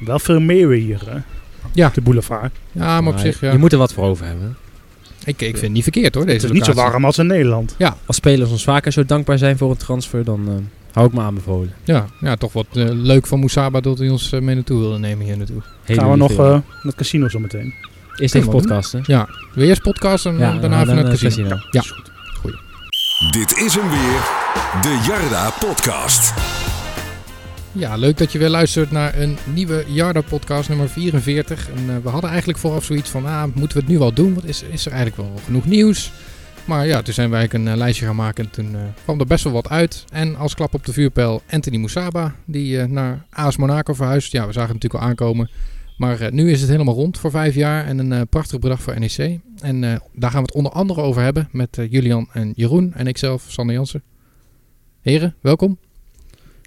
Wel veel meer hier, hè? Ja. De boulevard. Ja, maar op Maar zich, ja. Je moet er wat voor over hebben. ik, ik vind het niet verkeerd hoor, Het deze is niet zo locatie. warm als in Nederland. Als spelers ons vaker zo dankbaar zijn voor een transfer, dan eh, hou ik me aanbevolen. Ja, ja, toch wat eh, leuk van Moesaba dat hij ons eh, mee naartoe wilde nemen hier naartoe. Hele Gaan we nog lieve eh jongen. naar het casino zo meteen. Eerst even Kunnen we podcasten. Wil je eerst podcast en eh, nou, daarna even naar het casino. Ja. Dit is hem weer, de Jarda Podcast. Ja, leuk dat je weer luistert naar een nieuwe Jarda podcast nummer 44. En, eh, we hadden eigenlijk vooraf zoiets van, ah, moeten we het nu wel doen? Want is, is er eigenlijk wel genoeg nieuws? Maar ja, toen zijn wij eigenlijk een eh, lijstje gaan maken en toen eh, kwam er best wel wat uit. En als klap op de vuurpijl Anthony Moussaba, die eh, naar AS Monaco verhuist. Ja, we zagen hem natuurlijk al aankomen. Maar eh, nu is het helemaal rond voor vijf jaar en een eh, prachtig bedrag voor NEC. En eh, daar gaan we het onder andere over hebben met eh, Julian en Jeroen en ikzelf, Sander Jansen. Heren, welkom.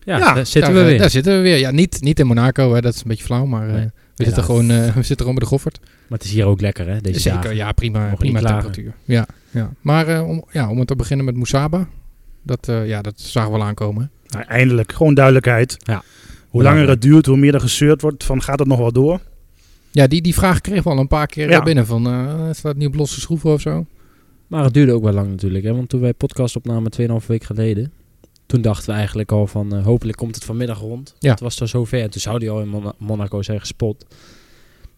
Ja, Ja, daar zitten Daar, we eh, weer. Daar zitten we weer. Ja, niet, niet in Monaco, hè, dat is een beetje flauw, maar eh, Nee, we, zitten gewoon, eh, we zitten gewoon bij de Goffert. Maar het is hier ook lekker, hè? Deze Zeker, dagen. ja, prima, Mogen prima niet klagen. temperatuur. Ja, ja. Maar eh, om, ja, om het te beginnen met Moussaba, dat, eh, ja, dat zagen we wel aankomen. hè. Nou, eindelijk, gewoon duidelijkheid. Ja. Hoe langer het duurt, hoe meer er gezeurd wordt van gaat het nog wel door. Ja, die, die vraag kregen we al een paar keer Ja. eh, binnen, van eh, staat niet op losse schroeven of zo? Maar het duurde ook wel lang natuurlijk, hè? Want toen wij podcast opnamen 2,5 week geleden, toen dachten we eigenlijk al van eh, hopelijk komt het vanmiddag rond. Ja. Het was dan zover. En toen zou die al in Mona- Monaco zijn gespot.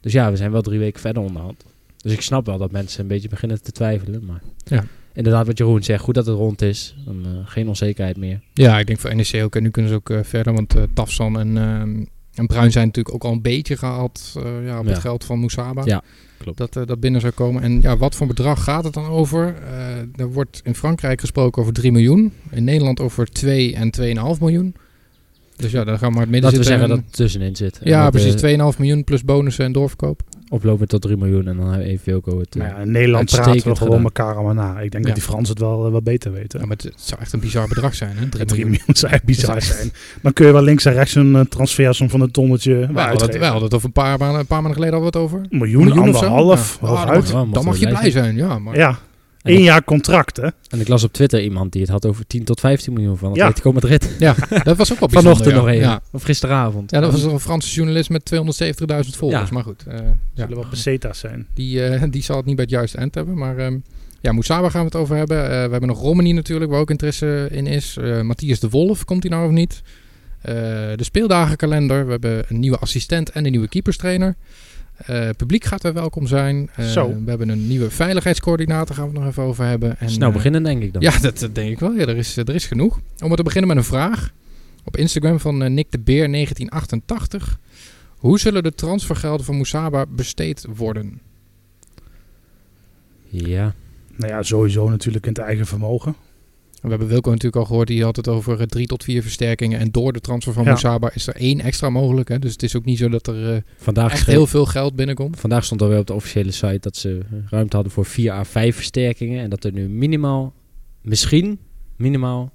Dus ja, we zijn wel drie weken verder onderhand. Dus ik snap wel dat mensen een beetje beginnen te twijfelen. Maar Ja. inderdaad, wat Jeroen zegt, goed dat het rond is. Dan, eh, geen onzekerheid meer. Ja, ik denk voor NEC ook. En nu kunnen ze ook eh, verder, want eh, Tafsan en, ehm, en Bruin zijn natuurlijk ook al een beetje gehaald eh, ja, op het Ja. geld van Moussaba. Ja, klopt. Dat eh, dat binnen zou komen. En ja, wat voor bedrag gaat het dan over? Eh, er wordt in Frankrijk gesproken over 3 miljoen. In Nederland over 2 en 2,5 miljoen. Dus ja, daar gaan we maar het midden Laten we zitten. zeggen dat En- het tussenin zit. En ja, dat, eh, precies. 2,5 miljoen plus bonussen en doorverkoop. oplopen tot 3 miljoen en dan hebben we even Wilco het. eh, Maar Nou ja, in Nederland praten we uitstekend gewoon gedaan. elkaar allemaal na. Ik denk Ja. dat die Fransen het wel, eh, wel beter weten. Ja, maar het, het zou echt een bizar bedrag zijn, hè? 3 En 3 miljoen. miljoen zou echt bizar zijn. Dan kun je wel links en rechts een eh, transfersom van een tonnetje Wij hadden het- uitgeven. wij hadden het over een paar maanden, een paar maanden geleden al wat over. Een miljoen, of zo? anderhalf, Ja. Ah, hooguit. dan mag- Ja, mag Dan mag wel je blij blij zijn, ja. Maar Ja, En één jaar contract hè. En ik las op Twitter iemand die het had over 10 tot 15 miljoen van Ja. Atletico Madrid. Ja, dat was ook wel bijzonder. Vanochtend ja. nog even. Ja. Of gisteravond. Ja, dat was een Franse journalist met 270.000 volgers. Ja. Maar goed, eh, ja. Zullen wel pesetas zijn. die, eh, die zal het niet bij het juiste eind hebben. Maar ehm, ja, Moussaba gaan we het over hebben. Eh, we hebben nog Romani natuurlijk, waar ook interesse in is. Eh, Matthias de Wolf, komt hij nou of niet? Eh, de speeldagenkalender. We hebben een nieuwe assistent en een nieuwe keeperstrainer. Eh publiek gaat er welkom zijn. Eh, Zo. We hebben een nieuwe veiligheidscoördinator, gaan we het nog even over hebben. En, Snel eh, beginnen denk ik dan. ja, dat eh, denk ik wel. Ja, er, is, eh, er is genoeg. Om maar te beginnen met een vraag. Op Instagram van eh, Nick de Beer 1988. Hoe zullen de transfergelden van Moussaba besteed worden? Ja. Nou ja, sowieso natuurlijk in het eigen vermogen. We hebben Wilco natuurlijk al gehoord. Die had het over eh, drie tot vier versterkingen. En door de transfer van Ja. Moussaba is er één extra mogelijk. Hè? Dus het is ook niet zo dat er eh, Vandaag, echt schreef- heel veel geld binnenkomt. vandaag stond alweer op de officiële site dat ze eh, ruimte hadden voor 4 à 5 versterkingen. En dat er nu minimaal, misschien minimaal,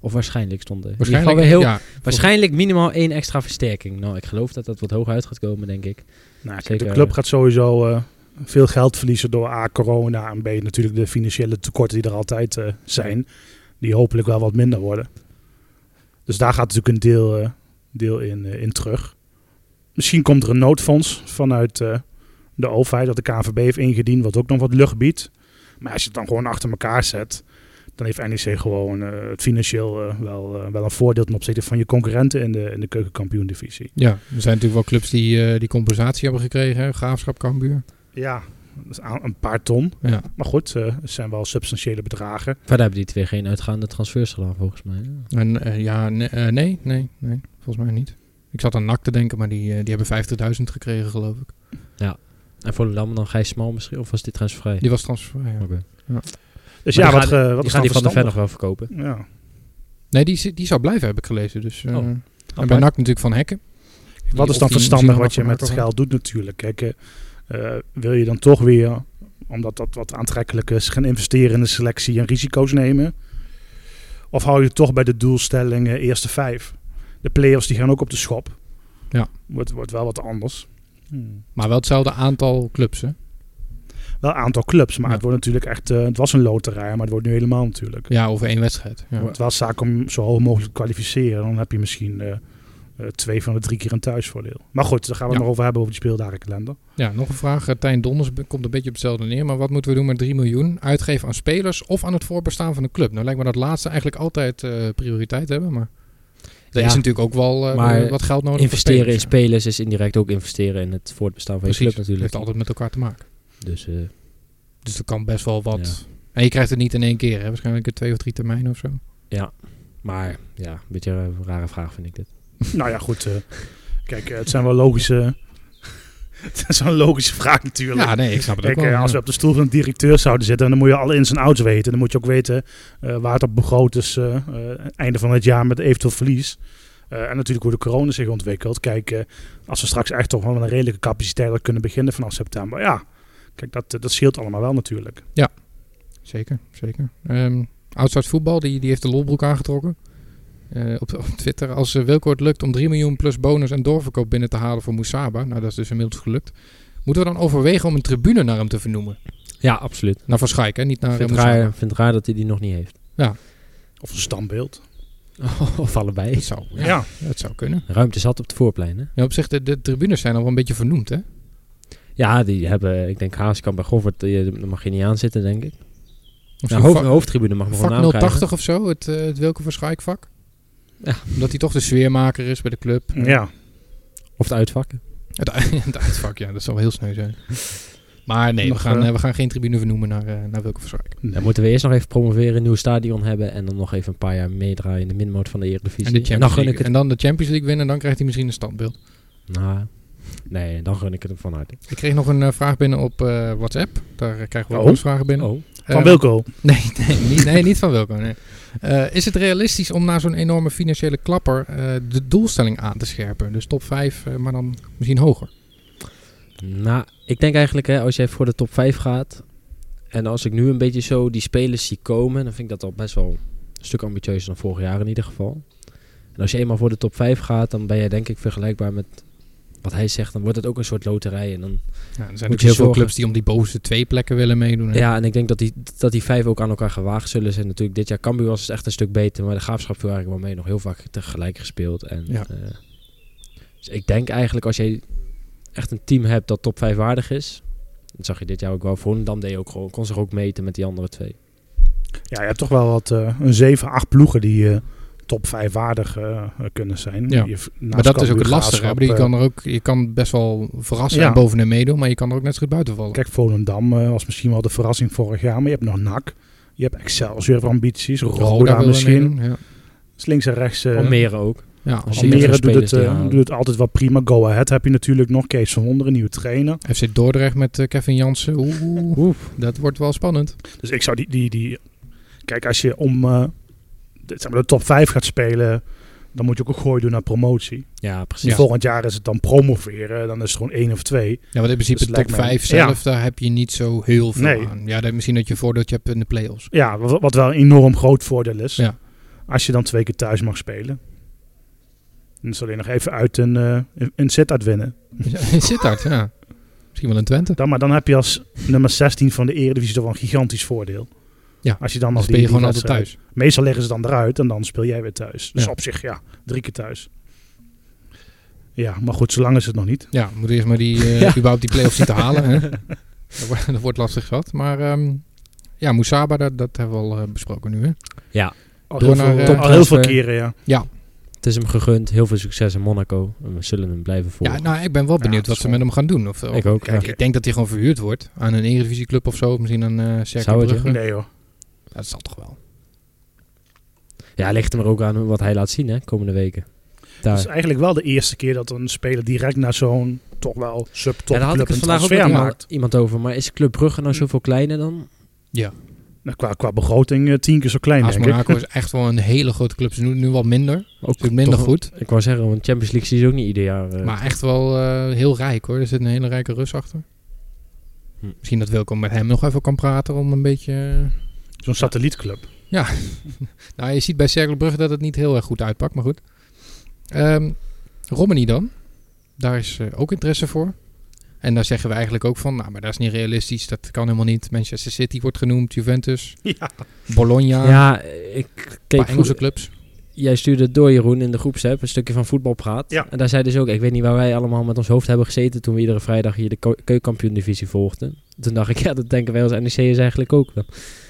of waarschijnlijk stonden. Waarschijnlijk, weer heel, ja, waarschijnlijk minimaal één extra versterking. Nou, ik geloof dat dat wat hoog uit gaat komen, denk ik. Nou, kijk, Zeker, de club ja. gaat sowieso eh, veel geld verliezen door A, corona en B, natuurlijk de financiële tekorten die er altijd eh, zijn. Die hopelijk wel wat minder worden. Dus daar gaat natuurlijk een deel, eh, deel in, eh, in terug. Misschien komt er een noodfonds vanuit eh, de overheid dat de KNVB heeft ingediend, wat ook nog wat lucht biedt. Maar als je het dan gewoon achter elkaar zet, dan heeft NEC gewoon eh, het financieel eh, wel, eh, wel een voordeel ten opzichte van je concurrenten in de, in de keukenkampioen-divisie. ja, er zijn natuurlijk wel clubs die, eh, die compensatie hebben gekregen. hè. Graafschap, Cambuur. Ja, dat is aan- een paar ton. Ja. Maar goed, eh, het zijn wel substantiële bedragen. Verder hebben die twee geen uitgaande transfers gedaan, volgens mij. Ja. En, eh, ja, ne- eh, nee, nee, nee, volgens mij niet. Ik zat aan NAC te denken, maar die, eh, die hebben 50.000 gekregen, geloof ik. En voor Lam dan Gijs Smal misschien? Of was dit transfervrij? Die was transfervrij. ja. Oké. Dus Maar ja, die wat, gaan- eh, wat Die is gaan dan die van de Ven nog verstandig? wel verkopen. Ja. Nee, die, zi- die zou blijven, heb ik gelezen. Dus, eh, Oh, en bij NAC apart. natuurlijk van Hekken. Wat is of dan die verstandig misschien wat je nog met van het geld doet natuurlijk? Kijk, eh, eh, wil je dan toch weer, eh, omdat dat wat aantrekkelijk is, gaan investeren in de selectie en risico's nemen? Of hou je het toch bij de doelstelling eh, eerste vijf? De players die gaan ook op de schop. Ja. Wordt, wordt wel wat anders. Hmm. Maar wel hetzelfde aantal clubs, hè? Wel een aantal clubs, maar Ja. het wordt natuurlijk echt. eh, het was een loterij, maar het wordt nu helemaal natuurlijk. Ja, over één wedstrijd. Ja. Het was zaak om zo hoog mogelijk te kwalificeren. Dan heb je misschien eh, eh, twee van de drie keer een thuisvoordeel. Maar goed, daar gaan we het nog Ja. over hebben, over die speeldagenkalender. Ja, nog een vraag. Eh, Tijn Donders be- komt een beetje op hetzelfde neer. Maar wat moeten we doen met 3 miljoen? Uitgeven aan spelers of aan het voorbestaan van de club? Nou lijkt me dat laatste eigenlijk altijd eh, prioriteit hebben. Maar er Ja. is natuurlijk ook wel eh, Maar wat geld nodig Investeren voor in spelers. spelers is indirect ook investeren in het voortbestaan van Precies, je club Het natuurlijk. heeft altijd met elkaar te maken. Dus eh, Dus er kan best wel wat. En je krijgt het niet in één keer. Hè? Waarschijnlijk in twee of drie termijnen of zo. maar ja, een beetje een rare vraag vind ik dit. nou ja, goed. eh, kijk, eh, het zijn wel logische... het is wel een logische vraag natuurlijk. Ja, nee, ik snap het ook Kijk, wel. eh, als we ja. op de stoel van de directeur zouden zitten, dan moet je alle ins en outs weten. Dan moet je ook weten eh, waar het op begroot is, eh, eh, einde van het jaar met eventueel verlies. Eh, en natuurlijk hoe de corona zich ontwikkelt. Kijk, eh, als we straks echt toch wel met een redelijke capaciteit hadden kunnen beginnen vanaf september. Ja, kijk, dat, eh, dat scheelt allemaal wel natuurlijk. Zeker, zeker. Ehm Outside voetbal, die, die heeft de lolbroek aangetrokken. Eh, op, op Twitter. Als eh, Wilco het lukt om 3 miljoen plus bonus en doorverkoop binnen te halen voor Moussaba. Nou, dat is dus inmiddels gelukt. Moeten we dan overwegen om een tribune naar hem te vernoemen? Ja, absoluut. Naar Van Schaik, hè? Niet naar Ik eh, vind, het Moussaba. raar, vind het raar dat hij die nog niet heeft. Of een standbeeld. of allebei. Het zou, ja, Ja, het zou kunnen. Ruimte zat op het voorplein, hè? Ja, op zich, de, de tribunes zijn al wel een beetje vernoemd, hè? Ja, die hebben, ik denk Haaskamp bij Goffert, die, daar mag je niet aan zitten, denk ik. Of Ja, zo'n hoofd, vak- hoofdtribune mag nog een naam vak 080 krijgen. of zo, het, eh, het Wilco Van Schaik vak. Ja. Omdat hij toch de sfeermaker is bij de club. Eh, ja. Of het uitvakken. Het, u- het uitvak, ja, dat zal wel heel sneu zijn. Maar nee, we Nog, gaan, eh, eh, we gaan geen tribune vernoemen naar, eh naar Wilco van Schaik. Dan moeten we eerst nog even promoveren, een nieuw stadion hebben en dan nog even een paar jaar meedraaien in de minmoot van de Eredivisie. En, de dan Champions gun League. ik het... en dan de Champions League winnen, dan krijgt hij misschien een standbeeld. Nou, nee, dan gun ik het hem van harte. Ik kreeg nog een eh, vraag binnen op eh, WhatsApp. Daar eh, krijgen we Oh. ook wel eens vragen binnen. Oh, Van Eh, Wilco. Nee, nee, niet, nee, niet van Wilco. Nee. Eh, is het realistisch om na zo'n enorme financiële klapper eh, de doelstelling aan te scherpen? Dus top 5, maar dan misschien hoger. nou, ik denk eigenlijk hè, als jij voor de top 5 gaat en als ik nu een beetje zo die spelers zie komen, dan vind ik dat al best wel een stuk ambitieuzer dan vorig jaar in ieder geval. En als je eenmaal voor de top 5 gaat, dan ben jij denk ik vergelijkbaar met wat hij zegt, dan wordt het ook een soort loterij en dan Ja, er zijn je natuurlijk heel veel zorgen. clubs die om die bovenste twee plekken willen meedoen. hè. Ja, en ik denk dat die, dat die vijf ook aan elkaar gewaagd zullen zijn. Natuurlijk, dit jaar Cambuur was het echt een stuk beter. Maar de Graafschap viel eigenlijk wel mee. Nog heel vaak tegelijk gespeeld. En, Ja. eh, dus ik denk eigenlijk als je echt een team hebt dat top vijf waardig is. Dat zag je dit jaar ook wel. Volendam deed ook gewoon, kon zich ook meten met die andere twee. Ja, je hebt toch wel wat, eh, een 7, 8 ploegen die eh, top 5 waardig eh, kunnen zijn. Ja. Je- naast Maar dat is ook Cambuur, het lastige. hè. Graafschap, Ik bedoel, Je eh, kan, er ook, je kan best wel verrassen Ja. en bovenin meedoen, maar je kan er ook net zo goed buiten vallen. Kijk, Volendam eh, was misschien wel de verrassing vorig jaar, maar je hebt nog NAC. Je hebt Excelsior ambities, Roda, wil misschien. meedoen, Ja. Dus links en rechts. eh, Almere ook. Ja, als je- Almere Zeker doet het, spelers die eh, halen. doet het altijd wel prima. Go Ahead heb je natuurlijk nog. Kees van Wonderen, nieuwe trainer. FC Dordrecht met eh, Kevin Jansen. Oeh, oeh, Oef. dat wordt wel spannend. Dus ik zou die... die, die kijk, als je om eh, de, zeg maar de top 5 gaat spelen, dan moet je ook een gooi doen naar promotie. Ja, Dus precies. Volgend jaar is het dan promoveren. Dan is het gewoon één of twee. Ja, want in principe Dus de top lijkt me- 5 zelf, daar heb je niet zo heel veel Nee. aan. Ja, dan misschien dat je een voordeeltje hebt in de play-offs. Ja, wat, wat wel een enorm groot voordeel is. Ja. Als je dan twee keer thuis mag spelen. Dan is alleen nog even uit een, eh een- een set-out winnen. Zit hard, ja. Misschien wel in Twente. Dan, maar dan heb je als nummer 16 van de Eredivisie toch wel een gigantisch voordeel. Ja, als je dan Dan nog speel je die- gewoon die altijd wedstrijd- thuis. Meestal leggen ze dan eruit en dan speel jij weer thuis. Dus Ja. op zich, ja, drie keer thuis. Ja, maar goed, zolang is het nog niet. Ja, we moeten eerst maar die, eh, überhaupt die play-offs zien te halen. Hè? Dat, wordt, dat wordt lastig zat. Maar ehm, ja, Moussaba, dat, dat hebben we al eh, besproken nu. Hè? Oh, Al heel, Door naar, eh, veel, al heel veel transfer. keren, ja. Het is hem gegund. Heel veel succes in Monaco. En we zullen hem blijven volgen. Ja, nou, ik ben wel Ja, benieuwd wat dat is ze met hem gaan doen. Of, of- ik ook. kijk, ja. ik denk dat hij gewoon verhuurd wordt aan een Eredivisieclub of zo. Of misschien aan eh Cercle Zou het, ja? Brugge. Nee hoor. Ja, Dat zal toch wel. ja, ligt hem er ook aan wat hij laat zien hè, komende weken. Daar. Het is eigenlijk wel de eerste keer dat een speler direct naar zo'n toch wel subtop Ja, daar had ik club het een vandaag ook transfer met maakt. iemand, iemand over. Maar is Club Brugge nou zoveel kleiner dan? Nou, Qua, qua begroting eh, tien keer zo klein, AS denk ik. Monaco is echt wel een hele grote club. Ze doen het nu wat minder. Ook Ze doen minder toch- goed. Ik wou zeggen, want Champions League zie je ook niet ieder jaar. eh. Maar echt wel eh, heel rijk hoor. Er zit een hele rijke Rus achter. Hm. Misschien dat Wilco met hem nog even kan praten om een beetje... eh, Zo'n satellietclub. Nou, je ziet bij Cercle Brugge dat het niet heel erg goed uitpakt, maar goed. Ehm Romani dan. Daar is eh, ook interesse voor. En daar zeggen we eigenlijk ook van, nou, maar dat is niet realistisch. Dat kan helemaal niet. Manchester City wordt genoemd, Juventus, Ja. Bologna, ja, ik een paar keek, Engelse vroeg- clubs. jij stuurde het door, Jeroen, in de groepsapp een stukje van voetbalpraat. Ja. En daar zei dus ook, ik weet niet waar wij allemaal met ons hoofd hebben gezeten toen we iedere vrijdag hier de ko- keukenkampioen-divisie volgden. Toen dacht ik, ja, dat denken wij als NEC is eigenlijk ook wel.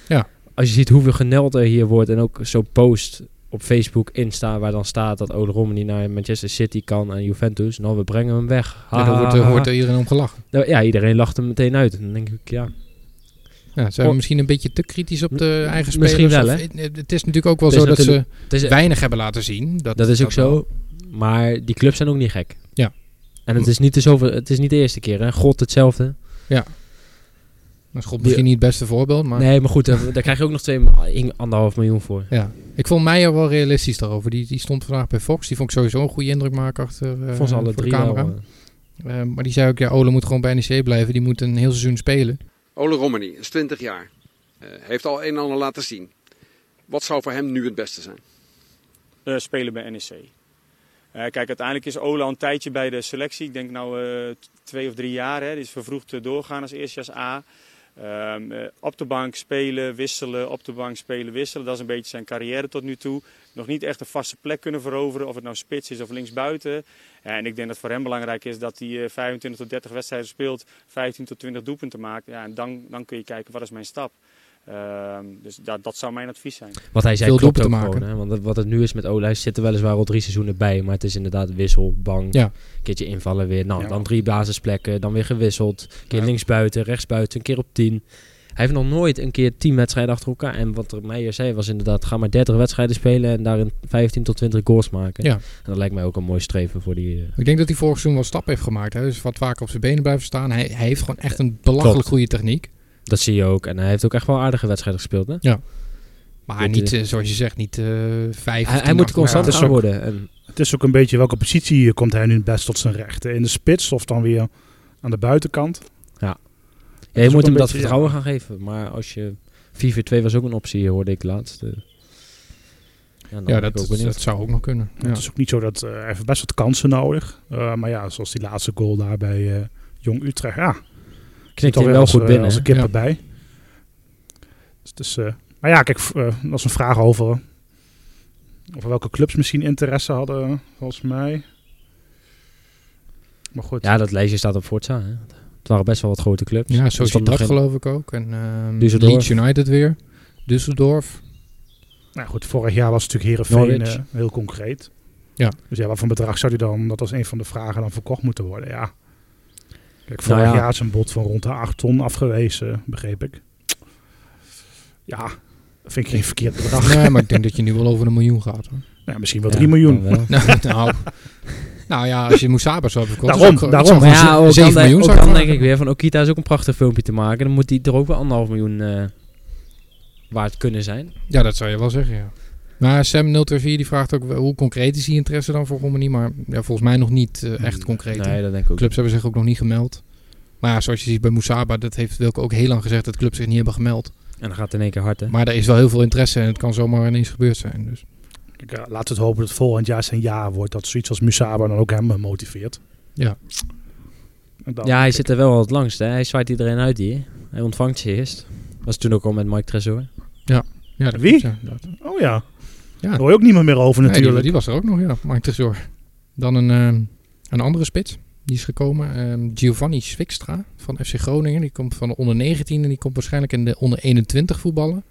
Ja. Als je ziet hoeveel geneld er hier wordt en ook zo'n post op Facebook, Insta, waar dan staat dat Ole Romani naar Manchester City kan en Juventus. Nou, we brengen hem weg. Ja, dan wordt, er- Ha, ha, ha. wordt er iedereen om gelachen. Nou, ja, iedereen lacht hem meteen uit. En dan denk ik, ja, Ja, zijn we Oh. misschien een beetje te kritisch op de eigen spelers? Misschien wel, Of- Het het is natuurlijk ook wel Het zo is dat ze natuurlijk- het is, weinig hebben laten zien. Dat, Dat is ook wel. zo. Maar die clubs zijn ook niet gek. Ja. En het is niet de, zoveel, het is niet de eerste keer. Hè? God hetzelfde. Dat is God misschien niet het beste voorbeeld, maar... Eh, Nee, maar goed, daar, daar krijg je ook nog twee, één- anderhalf miljoen voor. Ja. Ik vond Meijer wel realistisch daarover. Die, die stond vandaag bij Fox. Die vond ik sowieso een goede indruk maken achter eh, Volgens alle voor de drie wel. camera. eh. Eh, maar die zei ook, ja, Ole moet gewoon bij NEC blijven. Die moet een heel seizoen spelen. Ole Romani is 20 jaar. Eh, heeft al een en ander laten zien. Wat zou voor hem nu het beste zijn? eh, spelen bij NEC. Eh, kijk, uiteindelijk is Ola een tijdje bij de selectie. Ik denk nou eh, t- twee of drie jaar. Hè. Die is vervroegd eh, doorgaan als eerstejaars A. Ehm, eh, op de bank spelen, wisselen, op de bank spelen, wisselen. Dat is een beetje zijn carrière tot nu toe. Nog niet echt een vaste plek kunnen veroveren, of het nou spits is of linksbuiten. Ja, en ik denk dat voor hem belangrijk is dat hij eh, 25 tot 30 wedstrijden speelt, 15 tot 20 doelpunten maakt. Ja, en dan, dan kun je kijken, wat is mijn stap? Ehm, dus dat, dat zou mijn advies zijn. Wat hij zei Veel klopt ook doelpunten gewoon. maken. Hè? Want het- wat het nu is met Ola, hij zit er weliswaar al drie seizoenen bij. Maar het is inderdaad wissel, bang, Ja. een keertje invallen weer. Nou, Ja. dan drie basisplekken, dan weer gewisseld. Een keer Ja. linksbuiten, rechtsbuiten, een keer op tien. Hij heeft nog nooit een keer tien wedstrijden achter elkaar. En wat er Meijer zei was inderdaad, ga maar 30 wedstrijden spelen en daarin 15 tot 20 goals maken. Ja. En dat lijkt mij ook een mooi streven voor die... eh, Ik denk dat hij vorig seizoen wel stappen heeft gemaakt. Hè? Dus wat vaker op zijn benen blijven staan. Hij, hij heeft gewoon echt een belachelijk Klopt. goede techniek. dat zie je ook. En hij heeft ook echt wel aardige wedstrijden gespeeld. Hè? Maar Dit, niet, eh, eh, zoals je zegt, niet eh vijf. Hij, hij moet constant het is aan ook- worden. En Het is ook een beetje welke positie eh, komt hij nu het best tot zijn recht. Eh, In de spits of dan weer aan de buitenkant. Ja, je is moet ook hem een dat beetje, vertrouwen gaan geven. Maar als je 4-4-2 was ook een optie, hoorde ik laatst. eh. dan ben Ja, ik dat, ook dat, benieuwd. zou ook nog kunnen. Ja. Het is ook niet zo dat eh, hij heeft best wat kansen nodig. Eh, maar ja, zoals die laatste goal daar bij eh, Jong Utrecht. Ja, knikt toch hij weer wel als, goed eh, binnen. als hè? een kip Ja. erbij. Dus, het is, eh, maar ja, kijk, v- eh, dat was een vraag over, eh, over welke clubs misschien interesse hadden, eh, volgens mij. Maar goed, Ja, dat lijstje staat op Forza. Hè. Het waren best wel wat grote clubs. Dus Ja, Er stond Sociedad nog geen- geloof ik ook. En ehm, Düsseldorf. Leeds United weer. Düsseldorf. nou, goed vorig jaar was het natuurlijk Heerenveen Norwich. eh, heel concreet. Ja. Dus ja, wat voor bedrag zou die dan, dat was een van de vragen, dan verkocht moeten worden? Ja. Kijk, Nou vorig ja. jaar is een bod van rond de 8 ton afgewezen, begreep ik. Ja, vind ik geen verkeerd bedrag. Nee, maar ik denk dat je nu wel over een miljoen gaat. Hoor. Nou, misschien wel Ja, 3 miljoen. dan wel. nou, nou, nou ja, als je Moussaba zou hebben verkocht. Daarom, zou ik- daarom. zou ik Maar ja, gewoon ook zeven dan, denk- miljoen ook zou ik dan vragen. denk ik weer van Okita is ook een prachtig filmpje te maken. Dan moet hij er ook wel anderhalf miljoen eh, waard kunnen zijn. Ja, dat zou je wel zeggen, ja. Maar Sam024 die vraagt ook wel, hoe concreet is die interesse dan voor Romani? Maar ja, volgens mij nog niet eh, echt concreet. hè. Mm, Nee, dat denk ik ook. Clubs hebben zich ook nog niet gemeld. Maar ja, zoals je ziet bij Moussaba, dat heeft Wilco ook heel lang gezegd dat clubs zich niet hebben gemeld. En dan gaat het in één keer hard, hè? Maar er is wel heel veel interesse en het kan zomaar ineens gebeurd zijn. Dus. Kijk, eh, laten we het hopen dat volgend jaar zijn jaar wordt. Dat zoiets als Musaba dan ook hem eh, motiveert. Ja. En dan- Ja, hij zit er wel al het langst, hè? Hij zwaait iedereen uit hier. Hij ontvangt ze eerst. Was toen ook al met Mike Tresor. Ja, dat Wie? klopt, ja, inderdaad. Oh ja. Ja. Daar hoor je ook niemand meer over Nee, die- natuurlijk. die, was er ook nog, ja. Maakt er zorgen. Dan een, ehm, een andere spits. Die is gekomen. ehm, Giovanni Swikstra van FC Groningen. Die komt van de onder 19 en die komt waarschijnlijk in de onder 21 voetballen.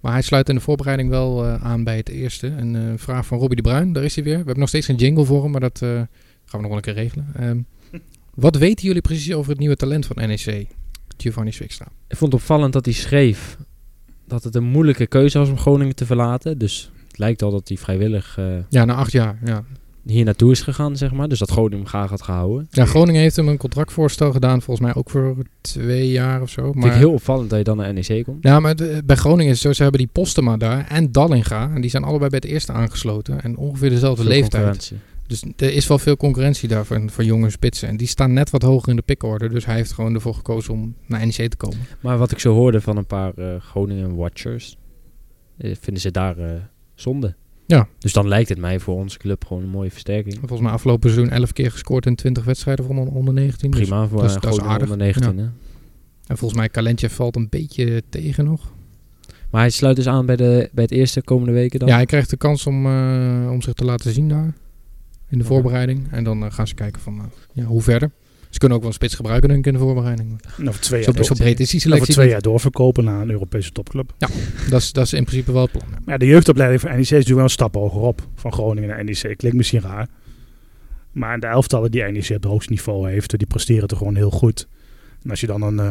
Maar hij sluit in de voorbereiding wel eh, aan bij het eerste. Een eh, vraag van Robbie de Bruin. Daar is hij weer. We hebben nog steeds geen jingle voor hem, maar dat eh, gaan we nog wel een keer regelen. Ehm, wat weten jullie precies over het nieuwe talent van NEC? Giovanni Swikstra. Ik vond het opvallend dat hij schreef dat het een moeilijke keuze was om Groningen te verlaten. Dus het lijkt al dat hij vrijwillig eh, Ja, na acht jaar. Ja. hier naartoe is gegaan, zeg maar. Dus dat Groningen hem graag had gehouden. ja, Groningen heeft hem een contractvoorstel gedaan. Volgens mij ook voor twee jaar of zo. Vind Maar ik heel opvallend dat je dan naar NEC komt. Ja, maar de- bij Groningen is het zo, ze hebben die Postema daar en Dallinga. En die zijn allebei bij het eerste aangesloten. En ongeveer dezelfde Veel leeftijd. concurrentie. Dus er is wel veel concurrentie daar van, van jonge spitsen. En die staan net wat hoger in de pickorder. Dus hij heeft gewoon ervoor gekozen om naar NEC te komen. Maar wat ik zo hoorde van een paar eh, Groningen-watchers, eh, vinden ze daar eh, zonde. Ja. Dus dan lijkt het mij voor onze club gewoon een mooie versterking. Volgens mij afgelopen seizoen 11 keer gescoord in 20 wedstrijden voor onder, onder 19. Dus- Prima voor dat is- een dat is Groningen aardig. onder 19. Ja. hè. en volgens mij Kalentje valt een beetje tegen nog. Maar hij sluit dus aan bij, de, bij het eerste komende weken dan? Ja, hij krijgt de kans om, eh, om zich te laten zien daar. In de voorbereiding. En dan eh, gaan ze kijken van eh, ja, hoe verder. Ze kunnen ook wel een spits gebruiken denk ik in de voorbereiding. En over Nou, twee zo, jaar, door, zo breed is die en over selectie. twee jaar doorverkopen naar een Europese topclub. niet. Dat, is, dat is in principe wel het plan. ja. Maar ja, de jeugdopleiding van NEC is natuurlijk wel een stap hoger op. Van Groningen naar NEC. Klinkt misschien raar. Maar de elftallen die NEC op het hoogste niveau heeft, die presteren toch gewoon heel goed. En als je dan een... eh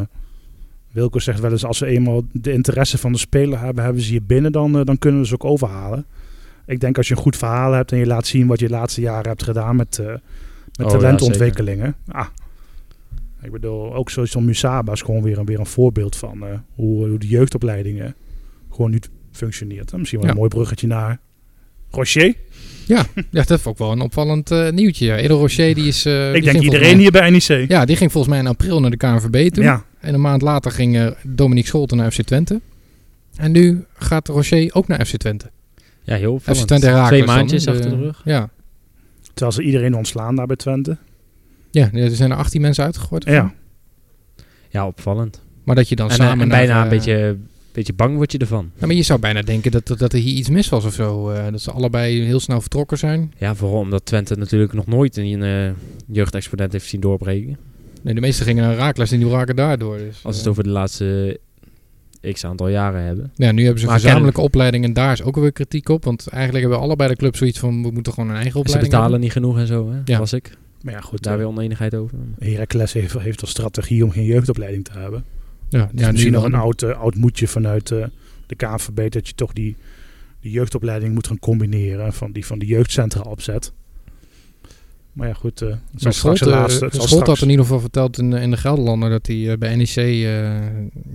Wilco zegt wel eens, als we eenmaal de interesse van de speler hebben, hebben we ze hier binnen, dan, eh, dan kunnen we ze ook overhalen. Ik denk als je een goed verhaal hebt en je laat zien wat je de laatste jaren hebt gedaan met, eh, met Oh, talentontwikkelingen. ah, ik bedoel, ook zoals zo'n Musaba is gewoon weer een, weer een voorbeeld van eh, hoe, hoe de jeugdopleidingen gewoon nu functioneert. En misschien wel een Ja. mooi bruggetje naar Eh, Rocher. Ja, dat is ook wel een opvallend eh, nieuwtje. Ja. Edo Rocher die is... eh, die ik denk ging volgens iedereen mij- hier bij NEC. Ja, die ging volgens mij in april naar de KNVB toe. Ja, En een maand later ging eh, Dominique Scholten naar FC Twente. En nu gaat Rocher ook naar FC Twente. Ja, heel FC opvallend. Twente raakt dus eh, Twee maandjes achter de rug. Ja. terwijl ze iedereen ontslaan daar bij Twente. ja, er zijn er 18 mensen uitgegooid. of zo. Ja, Ja, opvallend. Maar dat je dan En, eh, samen... en naar, bijna een eh, beetje, beetje bang word je ervan. Ja, maar je zou bijna denken dat, dat, dat er hier iets mis was of zo. Eh, dat ze allebei heel snel vertrokken zijn. Ja, vooral omdat Twente natuurlijk nog nooit een eh jeugdexponent heeft zien doorbreken. Nee, de meesten gingen naar Raakles en die raken daardoor. Dus, Als we het eh, over de laatste x aantal jaren hebben. ja, nu hebben ze een Maar gezamenlijke opleiding en daar is ook weer kritiek op. Want eigenlijk hebben allebei de clubs zoiets van... We moeten gewoon een eigen En Ze opleiding betalen niet genoeg en zo, hè? Ja. was ik. maar ja goed. Daar eh, weer oneenigheid over. Heracles heeft, heeft als strategie om geen jeugdopleiding te hebben. hebben. Ja, Het ja, is nu misschien nog wel. een oud, eh, oud moedje vanuit eh, de KNVB dat je toch die, die jeugdopleiding moet gaan combineren van die van de jeugdcentra opzet. Maar ja, goed. eh het zal Maar straks Scholt, de laatste. het zal straks- had in ieder geval verteld in, in de Gelderlander dat hij eh, bij NEC, eh,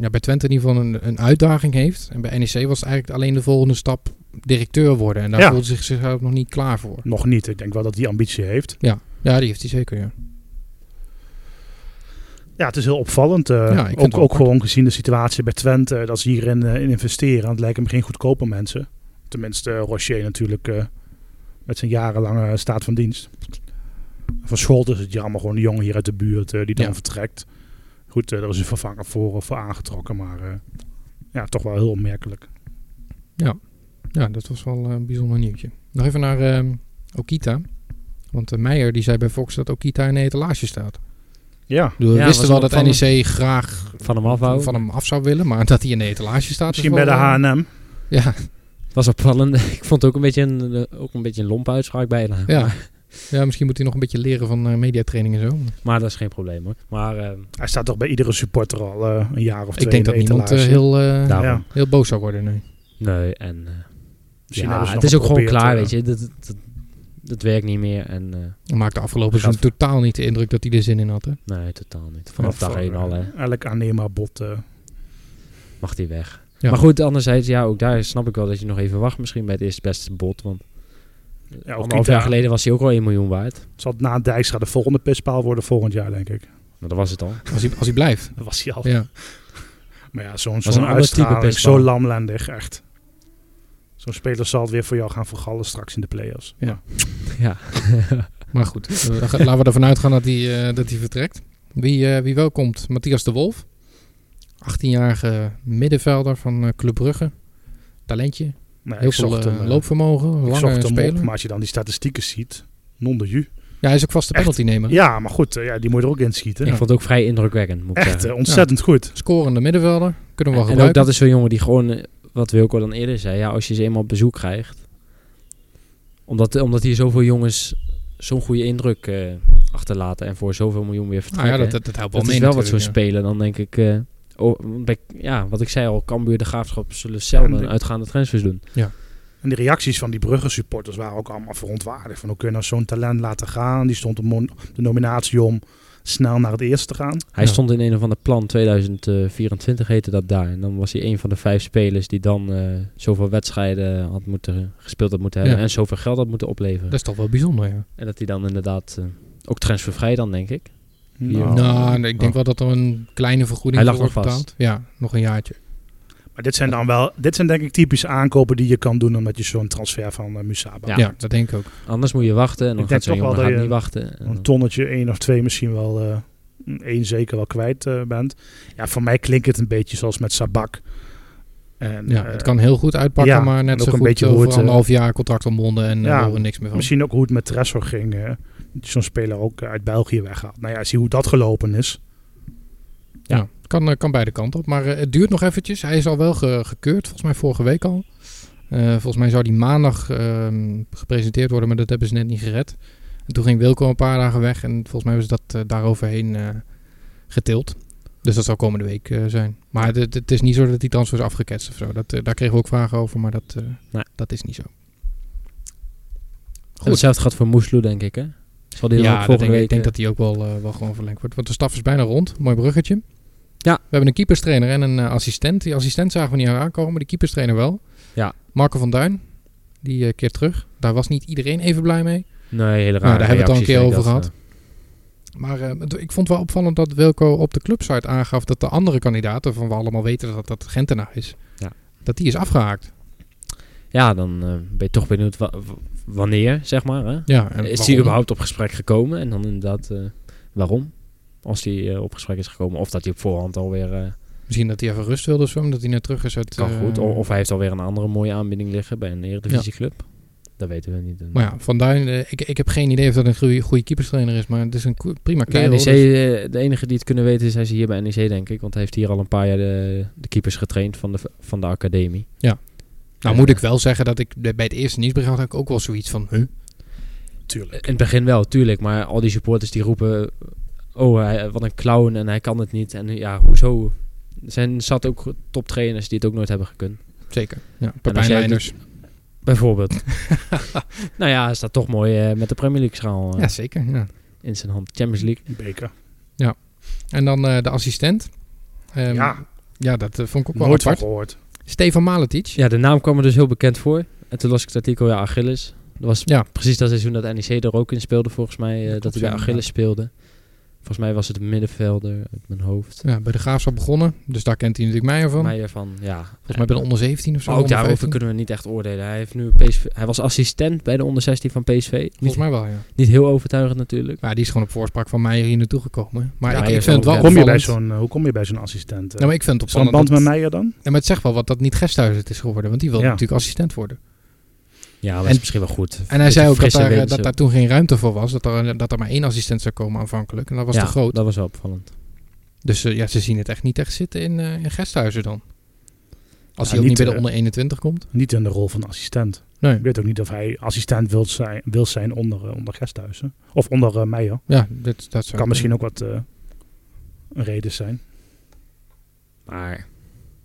ja, bij Twente in ieder geval een, een uitdaging heeft. En bij NEC was het eigenlijk alleen de volgende stap directeur worden. En daar Ja. voelde zich zich ook nog niet klaar voor. nog niet. Ik denk wel dat die ambitie heeft. Ja, ja die heeft hij zeker, ja. Ja, het is heel opvallend. eh, ik vind het ook wel ook apart. gewoon gezien de situatie bij Twente, dat ze hierin eh, in investeren. Want Het lijken me geen goedkope mensen. Tenminste, eh, Rocher natuurlijk eh, met zijn jarenlange eh, staat van dienst. Van Scholten is het jammer, gewoon een jongen hier uit de buurt eh, die dan Ja. vertrekt. Goed, eh, daar is een vervanger voor, eh, voor aangetrokken, maar eh, ja, toch wel heel opmerkelijk. Ja, dat was wel eh, een bijzonder nieuwtje. Nog even naar eh, Okita. Want eh, Meijer die zei bij Fox dat Okita in de etalage staat. Ik Ja, bedoel, we Ja, wisten was wel wel dat NEC graag Van hem afhouden. van hem af zou willen, maar dat hij in de etalage staat. is misschien bij de wel, eh, H&M. Ja, was opvallend. ik vond het ook een beetje een, eh, ook een, beetje een lompe uitspraak bijna. ja. Maar, ja, misschien moet hij nog een beetje leren van eh, mediatraining en zo. maar dat is geen probleem hoor. Maar ehm, Hij staat toch bij iedere supporter al eh, een jaar of twee Ik denk in dat de niemand eh, etalage. heel, eh, daarom. Ja. heel boos zou worden. Nee. Nee, en eh, Misschien ja, hebben ze het nog is ook gewoon geprobeerd, klaar, eh, weet je. Dat, dat, dat werkt niet meer en eh, Hij maakte afgelopen seizoen totaal niet de indruk dat hij er zin in had. Hè? nee, totaal niet. Vanaf dag voor, 1 al, eh, hè. Elk aanneembaar bod. eh, mag die weg. Ja. Maar goed, anderzijds, ja, ook daar snap ik wel dat je nog even wacht misschien bij het eerste beste bod. Want ja, anderhalf Okita- jaar geleden was hij ook al 1 miljoen waard. Zal het na Dijkstra de volgende pispaal worden volgend jaar, denk ik. Maar Nou, dat was het al. Als, hij, als hij blijft. Dat was hij al. Ja. Maar ja, zo'n een zo'n ander type uitstraling, pispaal. zo lamlendig, echt. Zo'n speler zal het weer voor jou gaan vergallen straks in de play-offs. Ja. Maar Ja. Maar goed, eh, dan ga- laten we ervan uitgaan dat hij, eh, dat hij vertrekt. Wie, eh, wie wel komt? Matthias de Wolf. 18-jarige middenvelder van eh, Club Brugge. Talentje. nee, Heel ik veel zocht eh, hem, eh, loopvermogen. ik Lange zocht hem speler. op, maar als je dan die statistieken ziet, non de ju. Ja, hij is ook vaste Echt? penaltynemer. Ja, maar goed, eh, ja, die moet je er ook in schieten. Ik vond het ook vrij indrukwekkend, moet ik Echt zeggen. eh, ontzettend goed. Scorende middenvelder. Kunnen we wel en ook gebruiken. dat is zo'n jongen die gewoon, eh, wat Wilco dan eerder zei, ja, als je ze eenmaal op bezoek krijgt. Omdat, eh, omdat hier zoveel jongens zo'n goede indruk eh, achterlaten en voor zoveel miljoen weer Nou vertrekken. ja, dat, hè. dat, dat helpt wel Dat mee is wel wat zo'n natuurlijk, ja. spelen. Dan denk ik, eh, oh, bij, ja, wat ik zei al, Cambuur de Graafschap zullen zelden Ja, een die- uitgaande transfers doen. En de reacties van die Brugge-supporters waren ook allemaal verontwaardigd. Van hoe kun je nou zo'n talent laten gaan? Die stond op mon- de nominatie om snel naar het eerste te gaan. Hij Ja. stond in een of ander plan 2024 heette dat daar. En dan was hij een van de vijf spelers die dan eh, zoveel wedstrijden had moeten, gespeeld had moeten hebben. Ja. En zoveel geld had moeten opleveren. Dat is toch wel bijzonder, ja. En dat hij dan inderdaad eh, ook transfervrij dan, denk ik. Nou. Nou, nee, ik denk wel dat er een kleine vergoeding Hij voor lag wordt nog vast. betaald. Ja, nog een jaartje. Maar dit zijn dan wel, dit zijn denk ik typische aankopen die je kan doen omdat je zo'n transfer van eh, Musaba. Ja. Ja, dat denk ik ook. Anders moet je wachten en dan Ik gaat denk zo'n toch wel jongen dat gaat je niet wachten. En Een dan- tonnetje, één of twee misschien wel, eh, één zeker wel kwijt eh, bent. Ja, voor mij klinkt het een beetje zoals met Sabak. En, Ja, eh, het kan heel goed uitpakken, ja, maar net en ook zo een goed beetje eh, hoe voor het, eh, anderhalf jaar contract ontbonden en eh, ja, horen we niks meer van. Misschien ook hoe het met Tressor ging. eh, dat je Zo'n speler ook eh, uit België weghaalt. Nou ja, zie hoe dat gelopen is. Ja, kan, eh, kan beide kanten op. Maar eh, het duurt nog eventjes. Hij is al wel ge- gekeurd, volgens mij vorige week al. Eh, volgens mij zou die maandag ehm, gepresenteerd worden, maar dat hebben ze net niet gered. En toen ging Wilco een paar dagen weg en volgens mij hebben ze dat eh, daaroverheen eh, getild. Dus dat zal komende week eh, zijn. Maar het- het het is niet zo dat die transfer is afgeketst of zo. Dat, eh, daar kregen we ook vragen over, maar dat, eh, Nee. dat is niet zo. En hetzelfde gaat voor Moesloe, denk ik, hè? Zal die dan ook Ja, dat volgende denk ik, week... ik denk eh, dat die ook wel, eh, wel gewoon verlengd wordt. Want de staf is bijna rond. Mooi bruggetje. Ja. We hebben een keeperstrainer en een eh, assistent. Die assistent zagen we niet aan aankomen, maar die keeperstrainer wel. Ja. Marco van Duin, die eh, keert terug. Daar was niet iedereen even blij mee. Nee, hele raar. Nou, daar hebben we het al een keer over gehad. eh, Maar eh, het- ik vond wel opvallend dat Wilco op de clubsite aangaf dat de andere kandidaat, waarvan we allemaal weten dat dat Gentenaar is, Ja. dat die is afgehaakt. ja, dan eh, ben je toch benieuwd wa- w- wanneer, zeg maar, hè? Ja, en is hij waarom? überhaupt op gesprek gekomen? En dan inderdaad, eh, waarom? Als hij eh, op gesprek is gekomen. Of dat hij op voorhand alweer... eh, Misschien dat hij even rust wilde of zo, omdat hij net terug is uit... kan eh, goed. O- Of hij heeft alweer een andere mooie aanbieding liggen bij een Eredivisieclub. Dat weten we niet. Maar ja, Van Duin, eh, ik, ik heb geen idee of dat een goede, goede keeperstrainer is, maar het is een ko- prima Bij kerel. NEC, dus- eh, de enige die het kunnen weten is hij is hier bij NEC, denk ik. Want hij heeft hier al een paar jaar de, de keepers getraind van de, van de academie. nou moet ik wel zeggen dat ik de- bij het eerste nieuwsbericht had ik ook wel zoiets van, huh? Tuurlijk. In het begin wel, tuurlijk. Maar al die supporters die roepen... Oh, hij, wat een clown en hij kan het niet. En ja, hoezo? Er zijn zat ook toptrainers die het ook nooit hebben gekund. Zeker. Ja, als Pepijn jij Leijners. Bijvoorbeeld. nou ja, hij staat toch mooi eh, met de Premier League schaal eh, Ja, zeker. Ja. in zijn hand. Champions League. Beker. En dan eh, de assistent. Ehm, ja, ja, dat eh, vond ik ook wel nooit van apart. gehoord. Stefan Maletic. Ja, de naam kwam er dus heel bekend voor. En toen las ik het artikel, ja, Achilles. Dat was Ja. precies dat seizoen dat NEC er ook in speelde, volgens mij. eh, klopt, dat hij bij ja, Achilles speelde. Volgens mij was het een middenvelder uit mijn hoofd. Ja, bij de Graafschap begonnen, dus daar kent hij natuurlijk Meijer van. Meijer van, ja. Volgens mij bij de onder 17 of zo. Maar ook onder daarover 15. kunnen we niet echt oordelen. Hij, heeft nu PSV, hij was assistent bij de onder 16 van PSV. Niet, Volgens mij wel, ja. niet heel overtuigend natuurlijk. Maar die is gewoon op voorspraak van Meijer hier naartoe gekomen. Maar Ja, ik, hij ik is vind het ook- wel Hoe kom je bij opvallend- zo'n, eh, hoe kom je bij zo'n assistent? eh? Nou, maar ik vind het is er een opvallend band met Meijer dat- dan? Ja, maar het zegt wel wat dat niet Gesthuis het is geworden, want die wil Ja. natuurlijk assistent worden. Ja, maar En- dat is misschien wel goed. En hij zei ook dat Frisse daar, eh, wind, dat zo. daar toen geen ruimte voor was. Dat er, eh, dat er maar één assistent zou komen aanvankelijk. En dat was ja, te groot. dat was wel opvallend. Dus eh, ja, ze zien het echt niet echt zitten in, eh in Gesthuizen dan. Als Ja, hij ook niet niet, bij de eh, onder 21 komt. Niet in de rol van assistent. Nee. Ik weet ook niet of hij assistent wil zijn, wil zijn onder, eh, onder Gesthuizen. Of onder eh, Meijer. Ja, dit, dat zou Kan misschien ook wat eh reden zijn. Maar